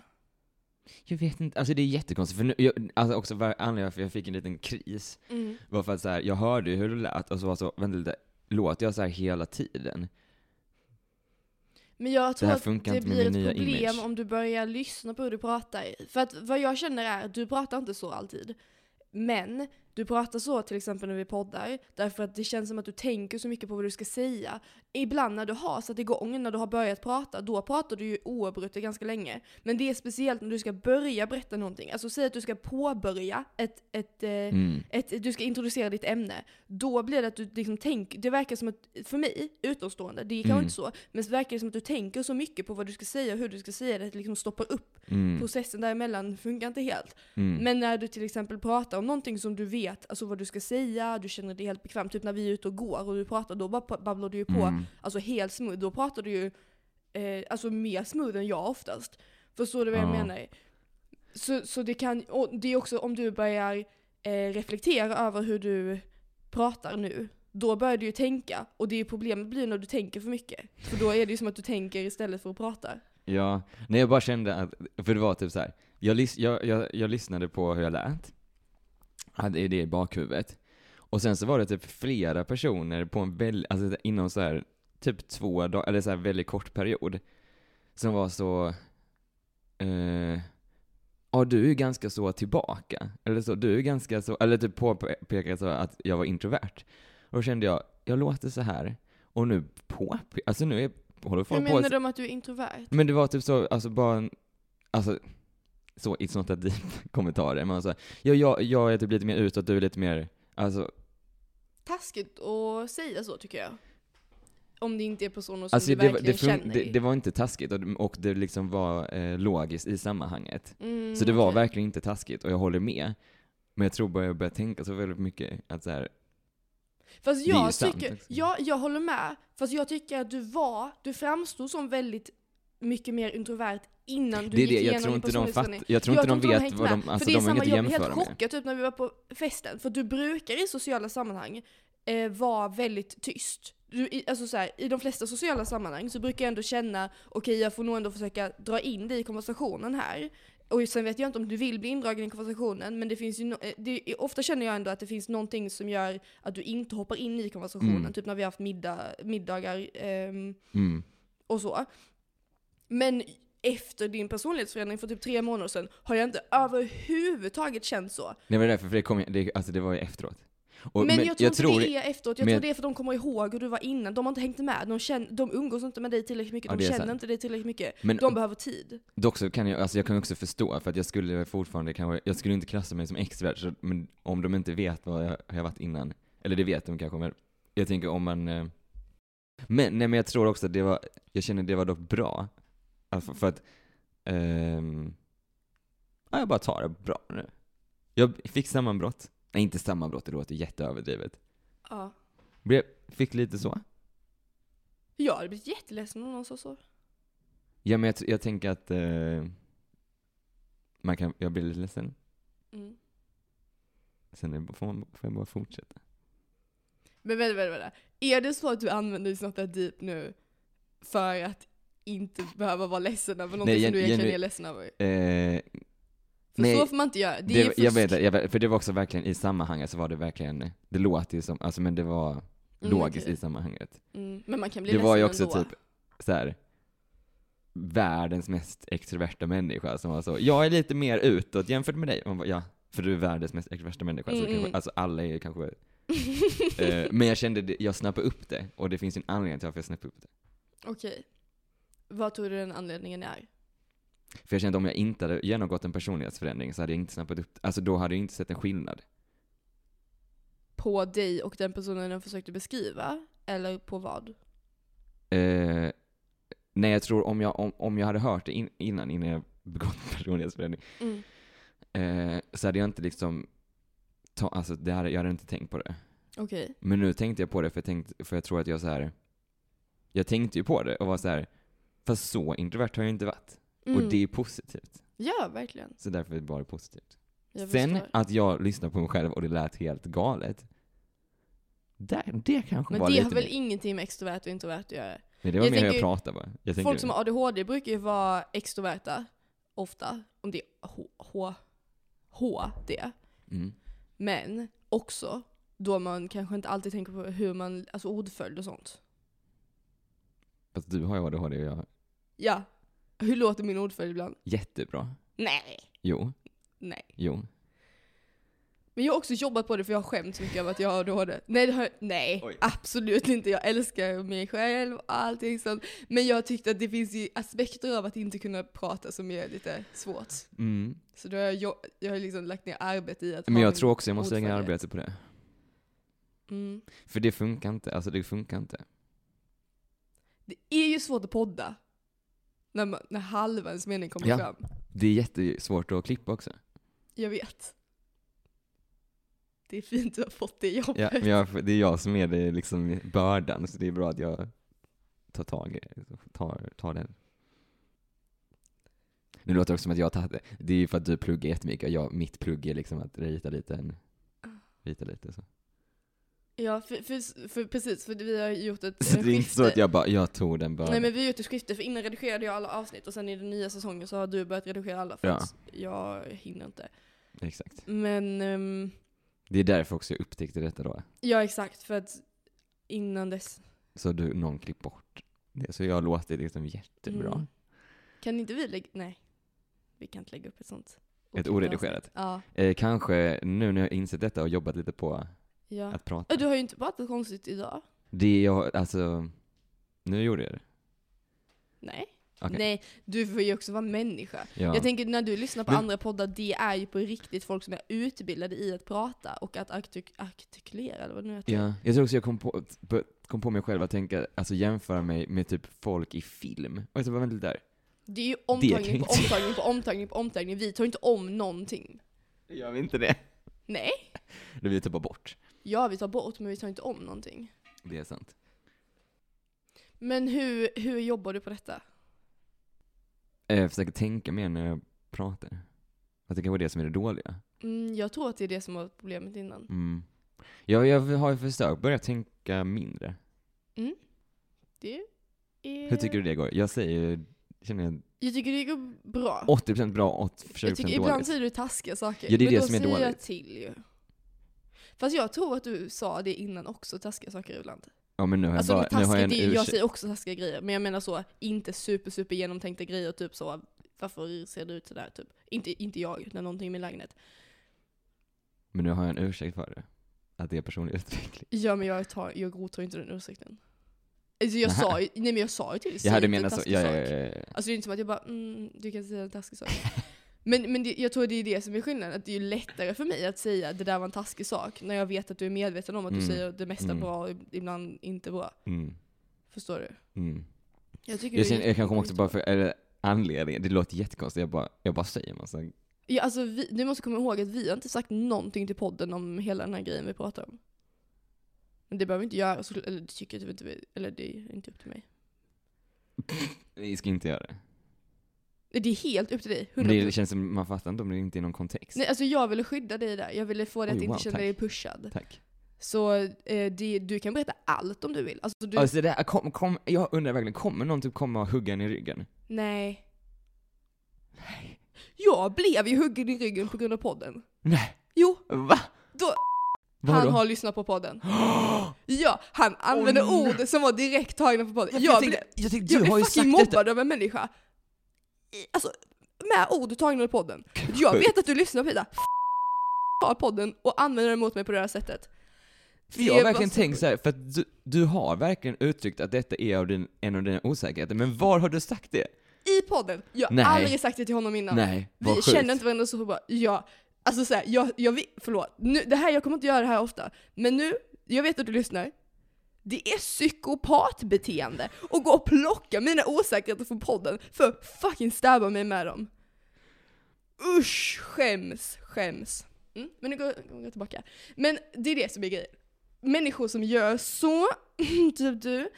[SPEAKER 3] Jag vet inte, alltså det är jättekonstigt. För nu, jag, alltså också var- anledningen varför jag fick en liten kris var för att så här, jag hörde ju hur det lät och så var så, vänta lite, låter jag så här hela tiden?
[SPEAKER 1] Men jag tror
[SPEAKER 3] här
[SPEAKER 1] att
[SPEAKER 3] funkar
[SPEAKER 1] det
[SPEAKER 3] inte med
[SPEAKER 1] blir ett
[SPEAKER 3] min nya
[SPEAKER 1] problem
[SPEAKER 3] image.
[SPEAKER 1] om du börjar lyssna på hur du pratar. För att vad jag känner är, du pratar inte så alltid. Men Du pratar så till exempel när vi poddar, därför att det känns som att du tänker så mycket på vad du ska säga. Ibland när du har satt igång, när du har börjat prata, då pratar du ju oavbrutet ganska länge. Men det är speciellt när du ska börja berätta någonting. Alltså säg att du ska påbörja ett, ett, eh,
[SPEAKER 3] Mm.
[SPEAKER 1] ett, du ska introducera ditt ämne, då blir det att du liksom tänker, det verkar som att, för mig, utomstående, det är kanske
[SPEAKER 3] Mm.
[SPEAKER 1] inte så, men det verkar som att du tänker så mycket på vad du ska säga och hur du ska säga det, att det liksom stoppar upp.
[SPEAKER 3] Mm.
[SPEAKER 1] Processen däremellan funkar inte helt.
[SPEAKER 3] Mm.
[SPEAKER 1] Men när du till exempel pratar om någonting som du vet, alltså vad du ska säga, du känner dig helt bekväm, typ när vi är ute och går och du pratar, då bara pa- babblar du ju på,
[SPEAKER 3] Mm.
[SPEAKER 1] alltså helt smooth, då pratar du ju eh, alltså mer smooth än jag oftast. Förstår du vad jag
[SPEAKER 3] Ja.
[SPEAKER 1] menar? Så, så det kan, och det är också om du börjar eh, reflektera över hur du pratar nu, då börjar du ju tänka. Och det är ju problemet blir när du tänker för mycket. För då är det ju som att du tänker istället för att prata.
[SPEAKER 3] Ja, nej jag bara kände att, för det var typ så här. Jag, lys- jag, jag, jag lyssnade på hur jag lät, hade det i bakhuvudet. Och sen så var det typ flera personer på en väl, alltså inom så här typ två dagar, eller så här väldigt kort period, som var så, eh, ja du är ganska så tillbaka, eller så, du är ganska så, eller typ påpekade så att jag var introvert. Och då kände jag, jag låter så här, och nu på, alltså nu är, håller
[SPEAKER 1] Hur
[SPEAKER 3] folk på
[SPEAKER 1] menar de att du är introvert?
[SPEAKER 3] men det var typ så, alltså bara en, alltså, så it's not that deep kommentarer, men alltså, ja, jag, jag är typ lite mer utåt, du är lite mer, alltså,
[SPEAKER 1] Taskigt att säga så tycker jag. Om det inte är personer som
[SPEAKER 3] alltså
[SPEAKER 1] du
[SPEAKER 3] det, var-
[SPEAKER 1] verkligen
[SPEAKER 3] det, fun-
[SPEAKER 1] känner.
[SPEAKER 3] det, det var inte taskigt och, och det liksom var eh, logiskt i sammanhanget.
[SPEAKER 1] Mm,
[SPEAKER 3] Så det var
[SPEAKER 1] okej.
[SPEAKER 3] verkligen inte taskigt och jag håller med. Men jag tror bara jag börjar tänka så väldigt mycket att så här,
[SPEAKER 1] Fast
[SPEAKER 3] Det är ju
[SPEAKER 1] jag
[SPEAKER 3] sant
[SPEAKER 1] tycker,
[SPEAKER 3] också.
[SPEAKER 1] ja, jag håller med. Fast jag tycker att du var, du framstod som väldigt mycket mer introvert innan du
[SPEAKER 3] det är
[SPEAKER 1] gick
[SPEAKER 3] det, jag
[SPEAKER 1] igenom
[SPEAKER 3] tror
[SPEAKER 1] din
[SPEAKER 3] inte de
[SPEAKER 1] personlighetsförändring.
[SPEAKER 3] fattar, jag tror inte de
[SPEAKER 1] har
[SPEAKER 3] vet
[SPEAKER 1] hängt
[SPEAKER 3] vad
[SPEAKER 1] med.
[SPEAKER 3] de,
[SPEAKER 1] för
[SPEAKER 3] alltså
[SPEAKER 1] det är
[SPEAKER 3] de kan
[SPEAKER 1] samma,
[SPEAKER 3] inte
[SPEAKER 1] jag blev
[SPEAKER 3] jämföra
[SPEAKER 1] helt
[SPEAKER 3] med.
[SPEAKER 1] chockad typ när vi var på festen, för du brukar i sociala sammanhang eh, vara väldigt tyst. Du, i, alltså så här, I de flesta sociala sammanhang så brukar jag ändå känna, okej jag får nog ändå försöka dra in dig i konversationen här. Och sen vet jag inte om du vill bli indragen i konversationen, men det finns ju no- eh, det, ofta känner jag ändå att det finns någonting som gör att du inte hoppar in i konversationen.
[SPEAKER 3] Mm.
[SPEAKER 1] Typ när vi har haft middag, middagar ehm,
[SPEAKER 3] Mm.
[SPEAKER 1] och så. Men efter din personlighetsförändring för typ tre månader sedan har jag inte överhuvudtaget känt så.
[SPEAKER 3] Det var därför, för det kom, det, alltså det var ju efteråt. Och,
[SPEAKER 1] men, jag tror inte det är efteråt, jag
[SPEAKER 3] men-
[SPEAKER 1] tror det är för de kommer ihåg hur du var innan. De har inte hängt med, de, känner, de umgås inte med dig tillräckligt mycket,
[SPEAKER 3] Ja,
[SPEAKER 1] de
[SPEAKER 3] det är
[SPEAKER 1] känner
[SPEAKER 3] sant.
[SPEAKER 1] inte dig tillräckligt mycket.
[SPEAKER 3] men,
[SPEAKER 1] De behöver tid.
[SPEAKER 3] Dock så kan jag, alltså jag kan också förstå, för att jag skulle fortfarande kanske, jag skulle inte klassa mig som extrovert, så, men om de inte vet vad jag har varit innan, eller det vet de kanske, men jag tänker om man... eh, Men, nej men jag tror också att det var, jag känner det var dock bra. Alltså för att, ehm, ja, jag bara tar det bra nu. Jag fick sammanbrott, nej inte sammanbrott, det låter jätteöverdrivet.
[SPEAKER 1] Ja.
[SPEAKER 3] Blev, fick lite så.
[SPEAKER 1] Jag hade blivit jätteledsen om någon sa så.
[SPEAKER 3] Ja men jag, jag tänker att, eh, man kan, jag blir lite ledsen.
[SPEAKER 1] Mm.
[SPEAKER 3] Sen är det bara- får, man, får jag bara fortsätta.
[SPEAKER 1] Men vänta, vänta, vänta. Är det så att du använder It's not that deep nu för att inte behöva vara ledsen över någonting som
[SPEAKER 3] gen-
[SPEAKER 1] du egentligen
[SPEAKER 3] genu-
[SPEAKER 1] är ledsen över?
[SPEAKER 3] Eh,
[SPEAKER 1] För
[SPEAKER 3] nej,
[SPEAKER 1] så får man inte göra. Det,
[SPEAKER 3] det,
[SPEAKER 1] är fusk. Mm,
[SPEAKER 3] jag vet, det, jag vet, för det var också verkligen i sammanhanget så var det verkligen, det låter ju som, alltså men det var
[SPEAKER 1] Mm,
[SPEAKER 3] logiskt
[SPEAKER 1] okej.
[SPEAKER 3] i sammanhanget.
[SPEAKER 1] Mm. Men man kan bli
[SPEAKER 3] Det var ju också
[SPEAKER 1] ledsen ändå.
[SPEAKER 3] typ så här världens mest extroverta människa som var så, jag är lite mer utåt jämfört med dig. Och hon bara, ja, för du är världens mest extroverta människa.
[SPEAKER 1] Mm,
[SPEAKER 3] så kanske,
[SPEAKER 1] mm.
[SPEAKER 3] Alltså alla är ju kanske, eh, men jag kände, det, jag snappade upp det och det finns ju en anledning till varför jag snappade upp det.
[SPEAKER 1] Okej. Vad tror du den anledningen är?
[SPEAKER 3] För jag kände om jag inte hade genomgått en personlighetsförändring så hade jag inte snappat upp det. Alltså då hade jag inte sett en skillnad.
[SPEAKER 1] På dig och den personen den försökte beskriva? Eller på vad?
[SPEAKER 3] Eh, nej, jag tror om jag, om, om jag hade hört det in, innan, innan jag begått personlighetsförändring,
[SPEAKER 1] Mm.
[SPEAKER 3] eh, så hade jag inte liksom, ta, alltså det hade, jag hade inte tänkt på det.
[SPEAKER 1] Okej.
[SPEAKER 3] Men nu tänkte jag på det för jag, tänkte, för jag tror att jag så här. jag tänkte ju på det och var så här. fast så introvert har jag inte varit.
[SPEAKER 1] Mm.
[SPEAKER 3] Och det är positivt.
[SPEAKER 1] Ja, verkligen.
[SPEAKER 3] Så därför är det bara positivt.
[SPEAKER 1] Jag
[SPEAKER 3] Sen
[SPEAKER 1] förstår.
[SPEAKER 3] att jag lyssnade på mig själv och det lät helt galet. Där, det kanske
[SPEAKER 1] Men
[SPEAKER 3] var
[SPEAKER 1] det
[SPEAKER 3] lite
[SPEAKER 1] har väl
[SPEAKER 3] mer.
[SPEAKER 1] ingenting med extrovert och introvert att göra?
[SPEAKER 3] Nej, det var
[SPEAKER 1] jag
[SPEAKER 3] mer hur jag
[SPEAKER 1] tänker-
[SPEAKER 3] pratade bara. Jag tänker-
[SPEAKER 1] Folk som har ADHD brukar ju vara extroverta, ofta. Om det är H, H, H det.
[SPEAKER 3] mm.
[SPEAKER 1] Men också då man kanske inte alltid tänker på hur man, alltså ordföljd och sånt.
[SPEAKER 3] Fast du har ju ADHD och jag
[SPEAKER 1] Ja. Hur låter min ordföljd ibland?
[SPEAKER 3] jättebra.
[SPEAKER 1] Nej.
[SPEAKER 3] Jo.
[SPEAKER 1] Nej.
[SPEAKER 3] Jo.
[SPEAKER 1] Men jag har också jobbat på det för jag har skämts mycket över att jag har ADHD. Nej, det har, jag- nej
[SPEAKER 3] Oj.
[SPEAKER 1] absolut inte. Jag älskar mig själv och allting sånt. Men jag tyckte att det finns ju aspekter av att inte kunna prata som är lite svårt.
[SPEAKER 3] Mm.
[SPEAKER 1] Så då har jag, jo- jag har liksom lagt ner arbete i att
[SPEAKER 3] Men
[SPEAKER 1] ha
[SPEAKER 3] jag
[SPEAKER 1] min-
[SPEAKER 3] tror också jag måste lägga ner
[SPEAKER 1] ordförande.
[SPEAKER 3] arbete på det.
[SPEAKER 1] Mm.
[SPEAKER 3] För det funkar inte, alltså det funkar inte.
[SPEAKER 1] Det är ju svårt att podda. När, man, när halva ens mening kommer
[SPEAKER 3] Ja.
[SPEAKER 1] fram.
[SPEAKER 3] Det är jättesvårt att klippa också.
[SPEAKER 1] Jag vet. Det är fint att du har fått det jobbet.
[SPEAKER 3] Ja, men jag, det är jag som är det liksom bördan, så det är bra att jag tar tag i tar, tar den. Nu låter det också som att jag har tagit det. Det är ju för att du pluggar jättemycket och jag, mitt plugg är liksom att rita lite, en, rita lite så.
[SPEAKER 1] Ja, för, för, för precis, för vi har gjort ett
[SPEAKER 3] Så det är inte så
[SPEAKER 1] skifte.
[SPEAKER 3] att jag bara, jag tog den bördan.
[SPEAKER 1] Nej men vi har gjort ett skifte, för innan redigerade jag alla avsnitt och sen i den nya säsongen så har du börjat redigera alla för
[SPEAKER 3] Ja.
[SPEAKER 1] att jag hinner inte.
[SPEAKER 3] Exakt.
[SPEAKER 1] Men, ehm,
[SPEAKER 3] Det är därför också jag upptäckte detta då.
[SPEAKER 1] ja exakt, för att innan dess.
[SPEAKER 3] Så du, någon klipp bort det. Så jag låter liksom jättebra.
[SPEAKER 1] Mm. Kan inte vi lägga, nej. Vi kan inte lägga upp ett sånt.
[SPEAKER 3] Ett oredigerat.
[SPEAKER 1] avsnitt. Ja.
[SPEAKER 3] Eh, kanske nu när jag har insett detta och jobbat lite på
[SPEAKER 1] ja.
[SPEAKER 3] att prata.
[SPEAKER 1] Äh, Du har ju inte pratat konstigt idag.
[SPEAKER 3] Det jag, alltså, nu gjorde jag det.
[SPEAKER 1] Nej.
[SPEAKER 3] Okej.
[SPEAKER 1] Nej, du får ju också vara människa.
[SPEAKER 3] Ja.
[SPEAKER 1] Jag tänker när du lyssnar på
[SPEAKER 3] Men-
[SPEAKER 1] andra poddar, det är ju på riktigt folk som är utbildade i att prata och att artik- artikulera, eller vad det nu heter.
[SPEAKER 3] Ja, jag tror också jag kom på, på- kom på mig själv att tänka, alltså jämföra mig med typ folk i film. Och jag tänkte, vänta lite där.
[SPEAKER 1] Det är ju
[SPEAKER 3] kan
[SPEAKER 1] omtagning
[SPEAKER 3] jag
[SPEAKER 1] på
[SPEAKER 3] inte.
[SPEAKER 1] omtagning på omtagning på omtagning. Vi tar inte om någonting.
[SPEAKER 3] Gör vi inte det?
[SPEAKER 1] Nej.
[SPEAKER 3] Det blir typ bara bort.
[SPEAKER 1] Ja, vi tar bort, men vi tar inte om någonting.
[SPEAKER 3] Det är sant.
[SPEAKER 1] Men hur, hur jobbar du på detta?
[SPEAKER 3] Eh, Jag försöker tänka mer när jag pratar. Att det kan vara det som är det dåliga.
[SPEAKER 1] Mm, jag tror att det är det som var problemet innan.
[SPEAKER 3] Mm. Jag, jag har ju försökt börja tänka mindre.
[SPEAKER 1] Mm. Det är...
[SPEAKER 3] Hur tycker du det går? Jag säger ju, känner jag,
[SPEAKER 1] Jag tycker det går bra.
[SPEAKER 3] 80% bra och 20%
[SPEAKER 1] jag tycker ibland
[SPEAKER 3] dåligt.
[SPEAKER 1] säger du taskiga saker.
[SPEAKER 3] Ja, det är
[SPEAKER 1] men
[SPEAKER 3] det
[SPEAKER 1] då
[SPEAKER 3] som är
[SPEAKER 1] säger jag
[SPEAKER 3] dåligt.
[SPEAKER 1] till ju. Fast jag tror att du sa det innan också, taskiga saker ibland.
[SPEAKER 3] Ja men nu har jag
[SPEAKER 1] Alltså
[SPEAKER 3] bara, nu har
[SPEAKER 1] taskiga,
[SPEAKER 3] jag en
[SPEAKER 1] det, jag
[SPEAKER 3] ursäkt.
[SPEAKER 1] säger också taskiga grejer, men jag menar så, inte super super genomtänkta grejer, typ så, varför ser det ut sådär typ? Inte, inte jag, utan någonting i min lägenhet.
[SPEAKER 3] Men nu har jag en ursäkt för det. Att det är personlig utveckling.
[SPEAKER 1] Ja men jag, tar, jag godtar inte den ursäkten. Alltså jag
[SPEAKER 3] Nähä.
[SPEAKER 1] sa ju, nej men jag sa ju till dig, säg
[SPEAKER 3] Jag hade
[SPEAKER 1] inte en
[SPEAKER 3] menat så,
[SPEAKER 1] taskig
[SPEAKER 3] ja,
[SPEAKER 1] sak.
[SPEAKER 3] ja, ja, ja.
[SPEAKER 1] Alltså det är inte som att jag bara, mm, du kan säga en taskig sak. men men det, jag tror det är det som är skillnaden, att det är lättare för mig att säga det där var en taskig sak, när jag vet att du är medveten om att du
[SPEAKER 3] Mm.
[SPEAKER 1] säger det mesta
[SPEAKER 3] Mm.
[SPEAKER 1] bra och ibland inte bra.
[SPEAKER 3] Mm.
[SPEAKER 1] Förstår du?
[SPEAKER 3] Mm.
[SPEAKER 1] Jag tycker
[SPEAKER 3] Jag,
[SPEAKER 1] du är
[SPEAKER 3] känner, jag kanske
[SPEAKER 1] jätteduktig.
[SPEAKER 3] också bara för eller, anledningen, det låter jättekonstigt, jag bara, jag bara säger en massa.
[SPEAKER 1] Ja, alltså vi, du måste komma ihåg att vi har inte sagt någonting till podden om hela den här grejen vi pratar om. Men det behöver vi inte göra, så, eller det tycker jag typ inte, vi- eller det är inte upp till mig.
[SPEAKER 3] Vi ska inte göra det.
[SPEAKER 1] Nej, Det är helt upp till dig,
[SPEAKER 3] Men
[SPEAKER 1] 100%.
[SPEAKER 3] det känns som, man fattar inte om det inte är någon kontext.
[SPEAKER 1] Nej, alltså jag ville skydda dig där, jag ville få dig att
[SPEAKER 3] Oj,
[SPEAKER 1] inte
[SPEAKER 3] wow,
[SPEAKER 1] känna
[SPEAKER 3] tack.
[SPEAKER 1] dig pushad.
[SPEAKER 3] Tack.
[SPEAKER 1] Så eh, det, du kan berätta allt om du vill. Alltså, du,
[SPEAKER 3] Alltså det där, kom, kom, jag undrar verkligen, kommer någon typ komma och hugga en i ryggen?
[SPEAKER 1] nej. Jag blev ju huggen i ryggen på grund av podden.
[SPEAKER 3] Nej.
[SPEAKER 1] Jo,
[SPEAKER 3] Va?
[SPEAKER 1] Då-
[SPEAKER 3] Vadå?
[SPEAKER 1] han har lyssnat på podden. Ja, han använde
[SPEAKER 3] nej.
[SPEAKER 1] ord som var direkt tagna från podden.
[SPEAKER 3] jag,
[SPEAKER 1] Jag, blev
[SPEAKER 3] tänkte, jag tänkte,
[SPEAKER 1] Jag
[SPEAKER 3] du har
[SPEAKER 1] blev
[SPEAKER 3] ju sagt
[SPEAKER 1] fucking
[SPEAKER 3] detta.
[SPEAKER 1] mobbad av en människa. I- Alltså, med ord tagna ur podden. Jag vet att du lyssnar på det där. F- av podden och använder den mot mig på det här sättet.
[SPEAKER 3] För jag har
[SPEAKER 1] Det var
[SPEAKER 3] verkligen
[SPEAKER 1] så
[SPEAKER 3] tänkt
[SPEAKER 1] sjukt.
[SPEAKER 3] såhär, för att du, du har verkligen uttryckt att detta är av din, en av dina osäkerheter, men var har du sagt det?
[SPEAKER 1] I podden. Jag har
[SPEAKER 3] Nej.
[SPEAKER 1] aldrig sagt det till honom innan.
[SPEAKER 3] Nej,
[SPEAKER 1] Vi
[SPEAKER 3] vad sjukt.
[SPEAKER 1] känner inte varandra så bra. Jag, alltså så här, jag, jag vet, förlåt. Nu, det här, jag kommer inte göra det här ofta. Men nu, jag vet att du lyssnar. Det är psykopatbeteende att gå och plocka mina osäkerheter från podden för att fucking stabba mig med dem. Usch, skäms, skäms. Mm, men nu går går jag tillbaka. Men det är det som är grejen. Människor som gör så, typ du,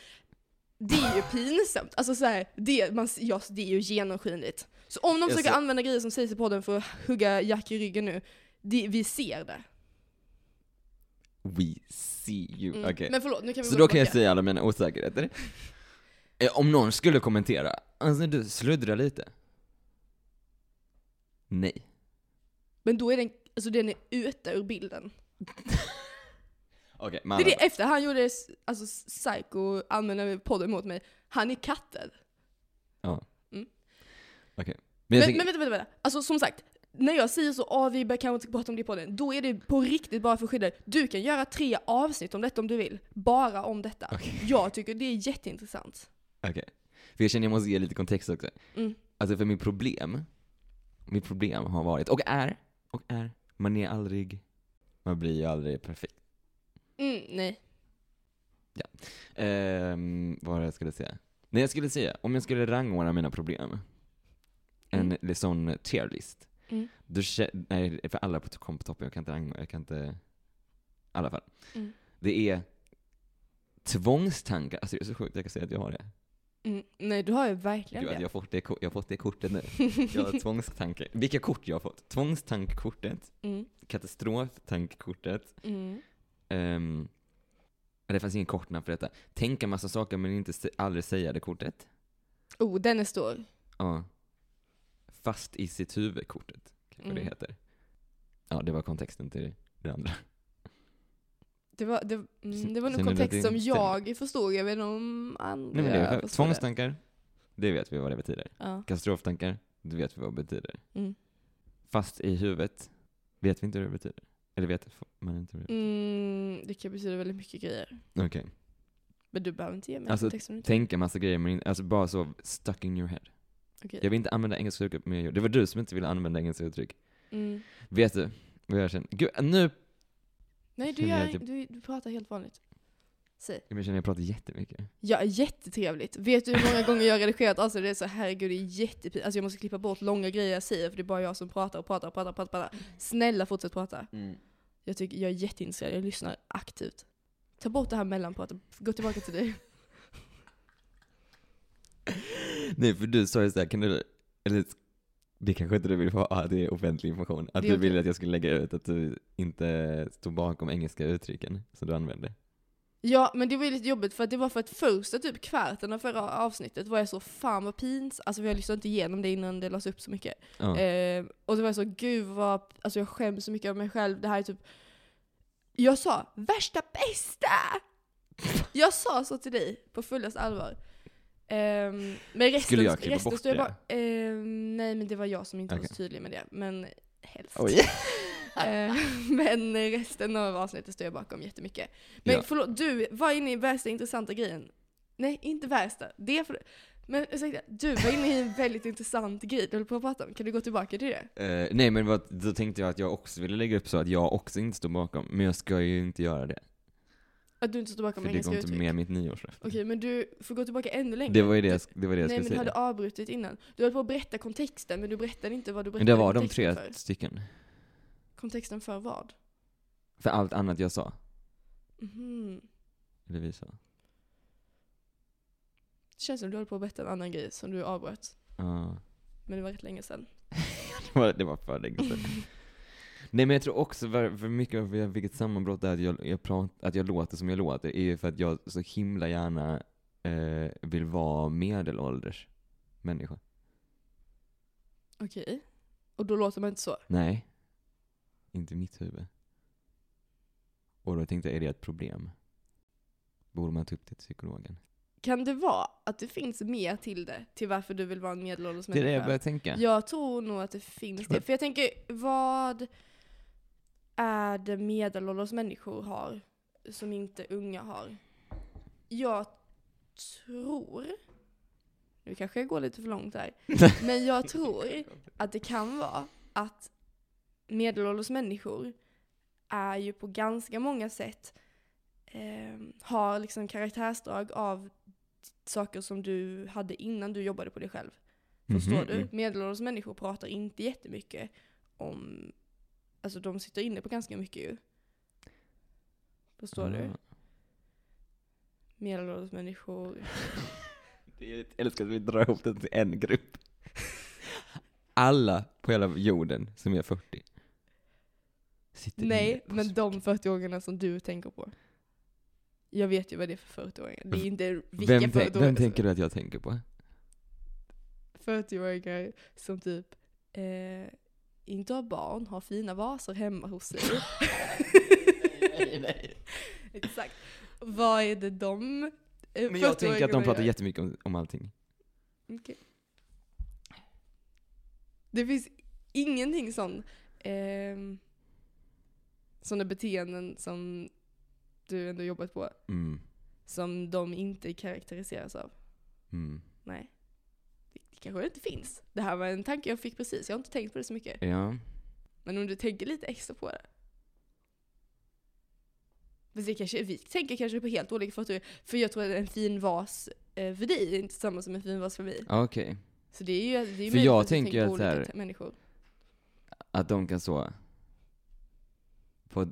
[SPEAKER 1] det är ju pinsamt. Alltså så här, det, man, ja, det är ju genomskinligt. Så om de
[SPEAKER 3] Jag
[SPEAKER 1] försöker
[SPEAKER 3] ser-
[SPEAKER 1] använda grejer som sägs i podden för att hugga Jack i ryggen nu, det, vi ser det.
[SPEAKER 3] We see you.
[SPEAKER 1] Mm.
[SPEAKER 3] Okej.
[SPEAKER 1] Men förlåt, nu kan vi
[SPEAKER 3] Så
[SPEAKER 1] gå
[SPEAKER 3] då kan jag
[SPEAKER 1] tillbaka.
[SPEAKER 3] säga alla mina osäkerheter. Eh, Om någon skulle kommentera, alltså du sluddrar lite. Nej.
[SPEAKER 1] Men då är den, alltså den är ute ur bilden.
[SPEAKER 3] Ah, Okej,
[SPEAKER 1] Det är
[SPEAKER 3] okay,
[SPEAKER 1] det, efter han gjorde s- alltså, s- psycho, använde podden mot mig, han är katten.
[SPEAKER 3] Men jag
[SPEAKER 1] Men,
[SPEAKER 3] tänker,
[SPEAKER 1] men vänta, vänta, vänta. Alltså som sagt, när jag säger så, ah, vi bör kanske inte prata om det på den, då är det på riktigt bara för att skydda dig. Du kan göra tre avsnitt om detta om du vill. Bara om detta.
[SPEAKER 3] Okej.
[SPEAKER 1] Jag tycker det är jätteintressant.
[SPEAKER 3] Okej. För jag känner jag måste ge lite kontext också.
[SPEAKER 1] Mm.
[SPEAKER 3] Alltså för mitt problem, mitt problem har varit, och är, och är, man är aldrig, man blir ju aldrig perfekt.
[SPEAKER 1] Mm, nej.
[SPEAKER 3] Ehm, vad var det jag skulle säga? Nej jag skulle säga, om jag skulle rangordna mina problem, en mm. sån tier list.
[SPEAKER 1] Mm.
[SPEAKER 3] Då kä- nej, för alla på- kom på toppen, jag kan inte rangordna, jag kan inte, i alla fall.
[SPEAKER 1] Mm.
[SPEAKER 3] Det är tvångstankar, alltså det är så sjukt jag kan säga att jag har det.
[SPEAKER 1] Mm, nej, du har ju verkligen
[SPEAKER 3] Gud, jag,
[SPEAKER 1] det.
[SPEAKER 3] har fått det. ko- jag har fått det kortet nu. Jag har tvångstanke. Vilka kort jag har fått? Tvångstankkortet,
[SPEAKER 1] Mm,
[SPEAKER 3] katastroftankkortet,
[SPEAKER 1] mm,
[SPEAKER 3] um, det fanns ingen kortnamn för detta. Tänka massa saker men inte se, aldrig säga det kortet.
[SPEAKER 1] Oh, den är stor.
[SPEAKER 3] Ja. Fast i sitt huvud-kortet, kanske
[SPEAKER 1] Mm.
[SPEAKER 3] det heter. Ja, det var kontexten till det andra.
[SPEAKER 1] Det var, det, mm, det var nog
[SPEAKER 3] Känner du att
[SPEAKER 1] kontext
[SPEAKER 3] Alltså, det
[SPEAKER 1] som
[SPEAKER 3] stämmer?
[SPEAKER 1] jag förstod, jag vet inte om andra
[SPEAKER 3] Nej, men det är,
[SPEAKER 1] förstår det.
[SPEAKER 3] tvångstankar, det vet vi vad det betyder.
[SPEAKER 1] Ja.
[SPEAKER 3] Katastroftankar, det vet vi vad det betyder.
[SPEAKER 1] Mm.
[SPEAKER 3] Fast i huvudet, vet vi inte vad det betyder. Eller vet man inte vad det
[SPEAKER 1] Mm, det kan betyda väldigt mycket grejer.
[SPEAKER 3] Okej.
[SPEAKER 1] Men du behöver inte ge mig
[SPEAKER 3] Alltså,
[SPEAKER 1] kontext om du inte
[SPEAKER 3] tänka massa grejer, men in- alltså bara så stuck in your head.
[SPEAKER 1] Okej.
[SPEAKER 3] Jag vill inte använda engelska uttryck, men jag gör det. Det var du som inte ville använda engelska uttryck.
[SPEAKER 1] Mm.
[SPEAKER 3] Vet du vad jag känner? Gud, nu
[SPEAKER 1] Nej, du,
[SPEAKER 3] Känner jag
[SPEAKER 1] gör,
[SPEAKER 3] att jag-
[SPEAKER 1] du, du pratar helt vanligt. Säg.
[SPEAKER 3] jag känner jag pratar jättemycket.
[SPEAKER 1] Ja, jättetrevligt. Vet du hur många gånger jag har redigerat alltså det är så herregud det är jättepinsamt. Alltså jag måste klippa bort långa grejer jag säger för det är bara jag som pratar och pratar och pratar, pratar, pratar. Snälla fortsätt prata. Jag, tycker, jag är jätteintresserad, jag lyssnar aktivt. Ta bort det här mellanpratet, gå tillbaka till dig.
[SPEAKER 3] Nej, för du sa ju såhär, kan du, eller det kanske inte du vill få, ah, det är offentlig information. Att
[SPEAKER 1] Det
[SPEAKER 3] du
[SPEAKER 1] är okej.
[SPEAKER 3] ville att jag skulle lägga ut att du inte stod bakom engelska uttrycken som du använde.
[SPEAKER 1] Ja, men det var ju lite jobbigt för att det var för att första typ kvarten av förra avsnittet var jag så fan vad pins. Alltså jag lyssnade inte igenom det innan det lades upp så mycket.
[SPEAKER 3] Ja.
[SPEAKER 1] Eh, och så var jag så, gud vad, alltså jag skäms så mycket av mig själv. Det här är typ, jag sa värsta bästa! Jag sa så till dig på fullast allvar. Ehm, men resten,
[SPEAKER 3] Skulle jag klippa
[SPEAKER 1] resten
[SPEAKER 3] bort
[SPEAKER 1] stod jag
[SPEAKER 3] det?
[SPEAKER 1] bara, ehm, nej men det var jag som inte var
[SPEAKER 3] Okej.
[SPEAKER 1] så tydlig med det. Men helst.
[SPEAKER 3] Oj.
[SPEAKER 1] Eh, men resten av avsnittet står jag bakom jättemycket. Men
[SPEAKER 3] Ja.
[SPEAKER 1] förlåt, du var inne i värsta intressanta grejen. Nej, inte värsta. Det är för... Men ursäkta, du var inne i en väldigt intressant grej du höll på att prata om. Kan du gå tillbaka till det?
[SPEAKER 3] Eh, nej, men vad, då tänkte jag att jag också ville lägga upp så att jag också inte stod bakom, men jag ska ju inte göra det.
[SPEAKER 1] Att du inte står bakom
[SPEAKER 3] För det
[SPEAKER 1] engelska
[SPEAKER 3] går inte
[SPEAKER 1] uttryck.
[SPEAKER 3] med mitt nyårslöfte.
[SPEAKER 1] Okej, men du får gå tillbaka ännu längre.
[SPEAKER 3] Det var ju det jag, det var det jag
[SPEAKER 1] Nej,
[SPEAKER 3] skulle
[SPEAKER 1] men du
[SPEAKER 3] säga.
[SPEAKER 1] hade avbrutit innan. Du höll på att berätta kontexten, men du berättade inte vad du
[SPEAKER 3] Men
[SPEAKER 1] berättade
[SPEAKER 3] det var de
[SPEAKER 1] kontexten
[SPEAKER 3] tre
[SPEAKER 1] för.
[SPEAKER 3] stycken.
[SPEAKER 1] Kontexten för vad?
[SPEAKER 3] För allt annat jag sa,
[SPEAKER 1] Mhm.
[SPEAKER 3] eller vi sa.
[SPEAKER 1] Det känns som du höll på att berätta en annan grej som du avbröt.
[SPEAKER 3] Ja.
[SPEAKER 1] Men det var rätt länge sedan.
[SPEAKER 3] det, var, det var för länge sedan. Nej men jag tror också var- för mycket varför jag fick ett sammanbrott där att jag, jag, prat, att jag låter som jag låter är ju för att jag så himla gärna eh, vill vara medelålders människa.
[SPEAKER 1] Okej. Och då låter man inte så.
[SPEAKER 3] Nej. Inte i mitt huvud. Och då tänkte jag, är det ett problem? Borde man ta upp det till psykologen?
[SPEAKER 1] Kan det vara att det finns mer till det? Till varför du vill vara en medelålders
[SPEAKER 3] Det är det jag
[SPEAKER 1] människa?
[SPEAKER 3] börjar tänka.
[SPEAKER 1] Jag tror nog att det finns
[SPEAKER 3] Tror
[SPEAKER 1] det.
[SPEAKER 3] jag.
[SPEAKER 1] För jag tänker, vad är det medelålders människor har som inte unga har? Jag tror, nu kanske jag går lite för långt här, men jag tror att det kan vara att medelålders människor är ju på ganska många sätt eh, har liksom karaktärsdrag av saker som du hade innan du jobbade på dig själv. Förstår
[SPEAKER 3] Mhm,
[SPEAKER 1] du?
[SPEAKER 3] mm.
[SPEAKER 1] Medelålders människor pratar inte jättemycket om... Alltså de sitter inne på ganska mycket ju. Förstår du?
[SPEAKER 3] Ah.
[SPEAKER 1] Medelålders människor...
[SPEAKER 3] Jag älskar att vi drar ihop det till en grupp. Alla på hela jorden som är 40 sitter inne
[SPEAKER 1] Nej,
[SPEAKER 3] på
[SPEAKER 1] men
[SPEAKER 3] så-
[SPEAKER 1] de 40-åringarna som du tänker på. Jag vet ju vad det är för 40-åringar. Det är inte vilka
[SPEAKER 3] vem, tänk,
[SPEAKER 1] 40-åringar
[SPEAKER 3] vem
[SPEAKER 1] som-
[SPEAKER 3] tänker du att jag tänker på?
[SPEAKER 1] 40-åringar som typ eh, inte har barn, har fina vaser hemma hos sig. Exakt. Vad är det de eh,
[SPEAKER 3] Men jag tänker att de
[SPEAKER 1] 40-åringarna
[SPEAKER 3] pratar
[SPEAKER 1] gör?
[SPEAKER 3] jättemycket om, om allting.
[SPEAKER 1] Det finns ingenting sån ehm, sådana beteenden som du ändå jobbat på
[SPEAKER 3] Mm.
[SPEAKER 1] som de inte karaktäriseras av.
[SPEAKER 3] Mm.
[SPEAKER 1] Nej. Det, det kanske inte finns. Det här var en tanke jag fick precis. Jag har inte tänkt på det så mycket.
[SPEAKER 3] Ja.
[SPEAKER 1] Men om du tänker lite extra på det. Fast det kanske, vi tänker kanske på helt olika faktorer. För jag tror att en fin vas eh, för dig är inte samma som en fin vas för mig.
[SPEAKER 3] Ja, Okej.
[SPEAKER 1] Så det är ju, det är ju möjligt
[SPEAKER 3] jag
[SPEAKER 1] att vi
[SPEAKER 3] tänker
[SPEAKER 1] på
[SPEAKER 3] att så här-
[SPEAKER 1] olika t- människor.
[SPEAKER 3] Att de kan så... På,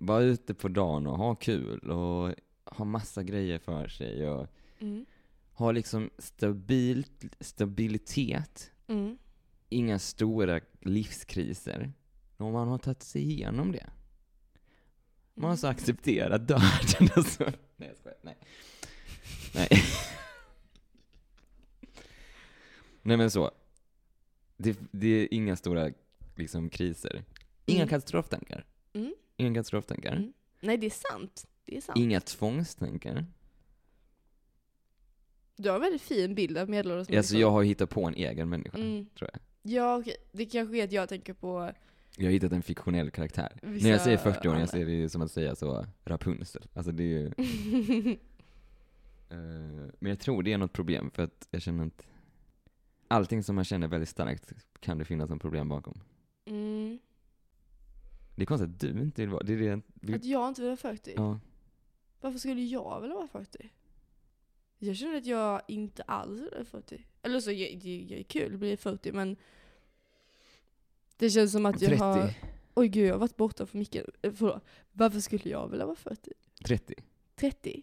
[SPEAKER 3] vara ute på dagen och ha kul och ha massa grejer för sig och
[SPEAKER 1] Mm.
[SPEAKER 3] ha liksom stabilt, stabilitet.
[SPEAKER 1] Mm.
[SPEAKER 3] Inga stora livskriser. Om man har tagit sig igenom det. Man har så accepterat döden och så. Nej jag skojar. Nej. Nej. Nej men så. Det, det är inga stora liksom kriser. Inga
[SPEAKER 1] Mm.
[SPEAKER 3] katastroftankar.
[SPEAKER 1] Mm.
[SPEAKER 3] Inga katastroftankar.
[SPEAKER 1] Mm. Nej, det är sant. Det är sant.
[SPEAKER 3] Inga tvångstankar.
[SPEAKER 1] Du har en väldigt fin bild av medelålders
[SPEAKER 3] Alltså jag har hittat på en egen människa.
[SPEAKER 1] Mm.
[SPEAKER 3] tror jag.
[SPEAKER 1] Ja, okej. Det kanske är att jag tänker på
[SPEAKER 3] Jag har hittat en fiktionell karaktär.
[SPEAKER 1] vissa
[SPEAKER 3] När jag säger 40-åring
[SPEAKER 1] andra.
[SPEAKER 3] jag ser det ju som att säga så Rapunzel. Alltså det är ju, eh, men jag tror det är något problem för att jag känner att allting som man känner väldigt starkt kan det finnas något problem bakom.
[SPEAKER 1] mm.
[SPEAKER 3] Det är konstigt att du inte vill vara det. Är det jag- vi,
[SPEAKER 1] Att jag inte vill vara 40.
[SPEAKER 3] ja,
[SPEAKER 1] Varför skulle jag vilja vara 40? Jag känner att jag inte alls vill vara 40. Eller så, jag, det, det är kul att bli 40 men det känns som att jag
[SPEAKER 3] 30,
[SPEAKER 1] har... Oj gud, jag har varit borta för mycket. Eh, Förlåt. Varför skulle jag vilja vara 40?
[SPEAKER 3] 30.
[SPEAKER 1] 30?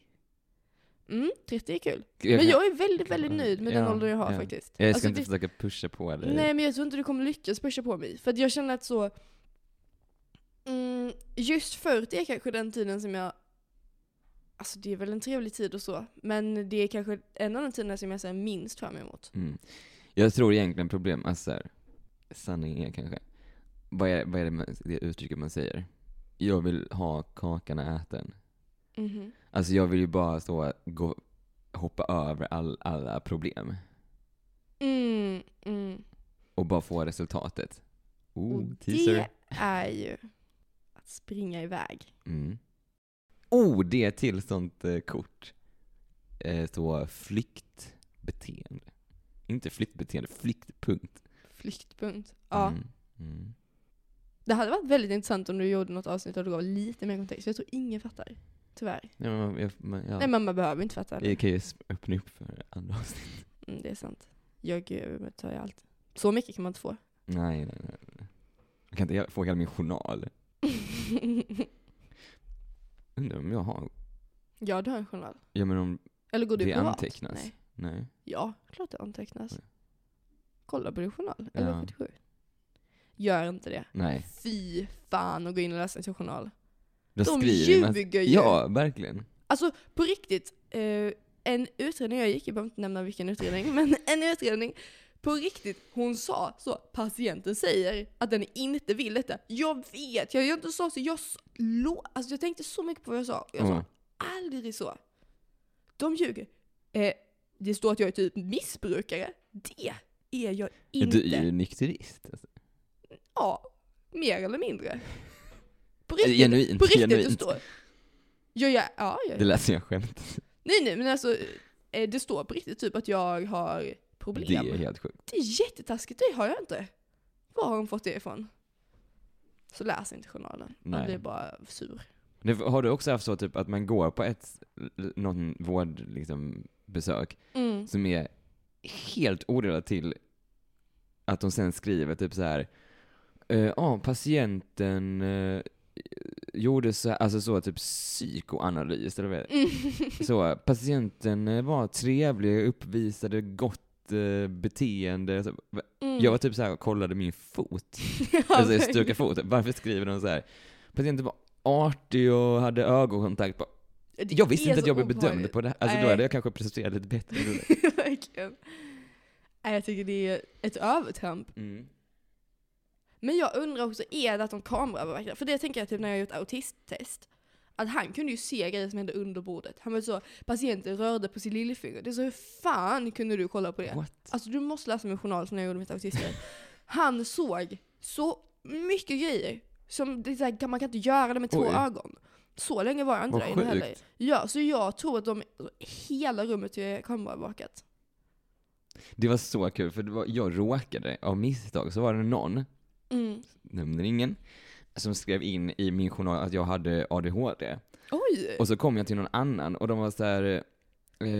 [SPEAKER 1] Mm, 30 är kul.
[SPEAKER 3] Jag,
[SPEAKER 1] Men
[SPEAKER 3] kan-
[SPEAKER 1] jag är väldigt, väldigt nöjd med den
[SPEAKER 3] Ja,
[SPEAKER 1] ålder jag har
[SPEAKER 3] ja.
[SPEAKER 1] faktiskt.
[SPEAKER 3] jag ska
[SPEAKER 1] Alltså,
[SPEAKER 3] inte
[SPEAKER 1] det-
[SPEAKER 3] försöka pusha på dig.
[SPEAKER 1] Nej men jag tror inte du kommer lyckas pusha på mig. För att jag känner att så... Mm, just 40 är kanske den tiden som jag... Alltså det är väl en trevlig tid och så. Men det är kanske en av de tiderna som jag ser minst fram emot.
[SPEAKER 3] Mm. Jag tror egentligen problem, alltså så här, sanningen är kanske, vad är, vad är det, man, det uttrycket man säger? Jag vill ha kakan och äta den.
[SPEAKER 1] Mhm.
[SPEAKER 3] Alltså jag vill ju bara så gå, hoppa över all, alla problem
[SPEAKER 1] Mm, mm.
[SPEAKER 3] och bara få resultatet.
[SPEAKER 1] Och
[SPEAKER 3] Oh,
[SPEAKER 1] det
[SPEAKER 3] teaser.
[SPEAKER 1] är ju att springa iväg.
[SPEAKER 3] Mm. Oh, det är till sånt eh, kort. Eh, så flyktbeteende. Inte flyktbeteende, flyktpunkt.
[SPEAKER 1] Flyktpunkt. Ja.
[SPEAKER 3] Mm. Mm.
[SPEAKER 1] Det hade varit väldigt intressant om du gjorde något avsnitt och du gav lite mer kontext. Jag tror ingen fattar. Tyvärr.
[SPEAKER 3] Ja, men, man- jag, man, ja.
[SPEAKER 1] Nej mamma behöver inte fatta.
[SPEAKER 3] Vi kan ju s- öppna upp för andra avsnitt.
[SPEAKER 1] Mm, det är sant. Jag eh, tar ju allt. Så mycket kan man inte få.
[SPEAKER 3] Nej, nej, nej. nej. Jag kan inte he- få hela min journal. Undrar om jag har...
[SPEAKER 1] ja, du har en journal.
[SPEAKER 3] Ja men om
[SPEAKER 1] Eller går du
[SPEAKER 3] det
[SPEAKER 1] privat?
[SPEAKER 3] antecknas?
[SPEAKER 1] Nej.
[SPEAKER 3] Nej.
[SPEAKER 1] Ja, klart det antecknas.
[SPEAKER 3] Nej.
[SPEAKER 1] Kolla på din journal.
[SPEAKER 3] Ja.
[SPEAKER 1] Eller 47. Gör inte det.
[SPEAKER 3] Nej.
[SPEAKER 1] Fy fan att gå in och läsa sin journal.
[SPEAKER 3] Då
[SPEAKER 1] De
[SPEAKER 3] skriver man-
[SPEAKER 1] ljuger ju!
[SPEAKER 3] Ja, verkligen.
[SPEAKER 1] Alltså på riktigt, eh, en utredning jag gick, jag behöver inte nämna vilken utredning, men en utredning på riktigt, hon sa så, patienten säger att den inte vill detta. Jag vet, jag gör inte så, så jag, s- lo, alltså, jag tänkte så mycket på vad jag sa. Jag sa
[SPEAKER 3] Ja.
[SPEAKER 1] aldrig så. De ljuger. Eh, det står att jag är typ missbrukare. Det är jag inte.
[SPEAKER 3] Du är ju nykterist. Alltså.
[SPEAKER 1] Ja, mer eller mindre. På
[SPEAKER 3] Eller
[SPEAKER 1] riktigt,
[SPEAKER 3] Alltså, Genuint.
[SPEAKER 1] på riktigt det
[SPEAKER 3] genuint.
[SPEAKER 1] står. Ja, ja, ja, ja,
[SPEAKER 3] Det lät som jag skämt.
[SPEAKER 1] Nej nej men alltså, eh, det står på riktigt typ att jag har problem.
[SPEAKER 3] Det är helt sjukt.
[SPEAKER 1] det är jättetaskigt, det har jag inte. Var har hon fått det ifrån? Så läs inte journalen.
[SPEAKER 3] Nej.
[SPEAKER 1] Man blir bara sur.
[SPEAKER 3] Nu, Har du också haft så typ att man går på ett, någon vård, liksom, besök
[SPEAKER 1] Mm.
[SPEAKER 3] som är helt orelaterat till att de sen skriver typ så här. eh, Ja, patienten eh, gjorde så här, alltså så typ psykoanalys eller vad är det?
[SPEAKER 1] Mm.
[SPEAKER 3] Så, patienten eh, var trevlig, uppvisade gott eh, beteende. Så, va-
[SPEAKER 1] Mm.
[SPEAKER 3] Jag var typ så här och kollade min fot,
[SPEAKER 1] Ja,
[SPEAKER 3] alltså
[SPEAKER 1] men-
[SPEAKER 3] jag stukade fot. Varför skriver de så här? Patienten var artig och hade ögonkontakt. Bara,
[SPEAKER 1] Det
[SPEAKER 3] Jag
[SPEAKER 1] är
[SPEAKER 3] visste inte att
[SPEAKER 1] så
[SPEAKER 3] jag blev bedömd
[SPEAKER 1] obehagligt.
[SPEAKER 3] på det här. Alltså då
[SPEAKER 1] Alltså, oh Nej.
[SPEAKER 3] hade jag kanske presterat lite bättre.
[SPEAKER 1] Verkligen. Nej, jag tycker det är ett övertramp.
[SPEAKER 3] Mm.
[SPEAKER 1] Men jag undrar också, är det att de kameraövervakar? För det tänker jag typ när jag har gjort autisttest. Att han kunde ju se grejer som hände under bordet. Han var så, patienten rörde på sin lillfinger. Det är så, hur fan kunde du kolla på det?
[SPEAKER 3] What?
[SPEAKER 1] Alltså du måste läsa min journal som jag gjorde mitt autister. Han såg Så mycket grejer. Som det är så här, kan- man kan inte göra det med två
[SPEAKER 3] Oj.
[SPEAKER 1] ögon. Så länge var jag inte
[SPEAKER 3] Vad
[SPEAKER 1] där inne heller.
[SPEAKER 3] sjukt.
[SPEAKER 1] Ja, så jag tror att de, hela rummet är kameraövervakat.
[SPEAKER 3] Det var så kul, för det var, jag råkade av misstag, så var det någon,
[SPEAKER 1] Mm.
[SPEAKER 3] nämner ingen, som skrev in i min journal att jag hade ADHD.
[SPEAKER 1] Oj!
[SPEAKER 3] Och så kom jag till någon annan och de var så här, eh,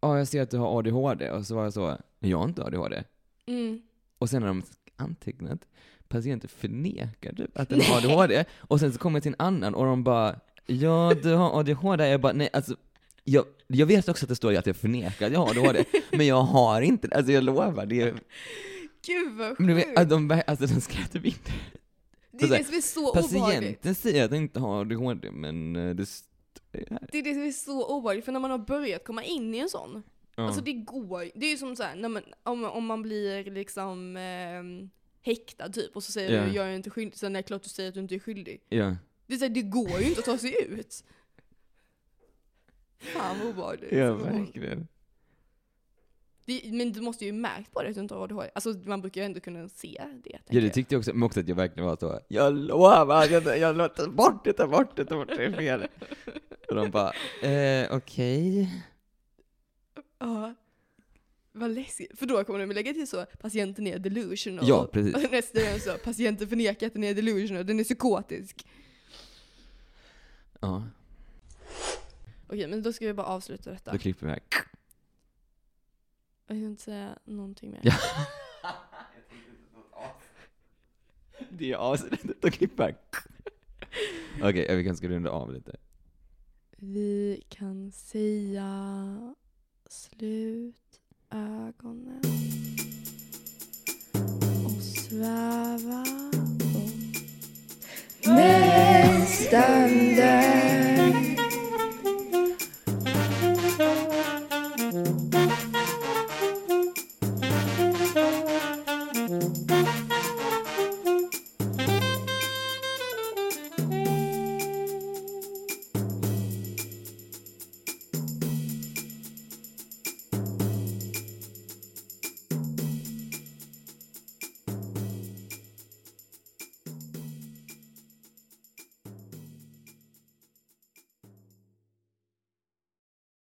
[SPEAKER 3] ja jag ser att du har ADHD. Och så var jag så, "Nej, jag har inte ADHD.
[SPEAKER 1] Mm.
[SPEAKER 3] Och sen har de antecknat, patienten förnekar du att den har ADHD? Och sen så kommer jag till en annan och de bara, ja du har ADHD. Jag bara, nej alltså, jag, jag vet också att det står att jag förnekar att jag har ADHD, men jag har inte det. Alltså jag lovar. Det är,
[SPEAKER 1] Gud vad
[SPEAKER 3] men du
[SPEAKER 1] sjukt!
[SPEAKER 3] vet, att de, bara- alltså de skrev typ inte.
[SPEAKER 1] det är
[SPEAKER 3] så här,
[SPEAKER 1] det som är så obehagligt.
[SPEAKER 3] Patienten säger att den inte har ADHD, men eh, det st-
[SPEAKER 1] Det är det som är så obehagligt, för när man har börjat komma in i en sån,
[SPEAKER 3] ja.
[SPEAKER 1] alltså det går Det är ju som så här, när man, om, om man blir liksom eh, häktad typ, och så säger
[SPEAKER 3] Ja.
[SPEAKER 1] du jag är inte skyldig, sen är det klart du säger att du inte är skyldig.
[SPEAKER 3] ja.
[SPEAKER 1] Det, är så här, det går ju inte att ta sig ut. Fan vad obehagligt.
[SPEAKER 3] ja, verkligen.
[SPEAKER 1] Det- Men du måste ju märkt på det att du inte har ADHD. Alltså man brukar ju ändå kunna se det.
[SPEAKER 3] Ja
[SPEAKER 1] tänker
[SPEAKER 3] det
[SPEAKER 1] jag.
[SPEAKER 3] tyckte jag också, men också att jag verkligen var så Jag lovar, jag, jag lovar, ta bort det, ta bort det, ta bort det, det är fel. Och de bara, eh, okej.
[SPEAKER 1] Ja. Vad läskigt. För då kommer de lägga till så, patienten är delusional.
[SPEAKER 3] Ja, precis.
[SPEAKER 1] Och nästa gång så, patienten förnekar att den är delusional, den är psykotisk.
[SPEAKER 3] Ja,
[SPEAKER 1] Okej, men då ska vi bara avsluta detta.
[SPEAKER 3] då klipper vi här.
[SPEAKER 1] Jag vill inte säga någonting mer.
[SPEAKER 3] Ja. Det är avsnittet, då klipper vi här. Okej, ja, vi kanske ska runda av lite.
[SPEAKER 1] Vi kan säga slut ögonen och sväva om
[SPEAKER 2] Nästande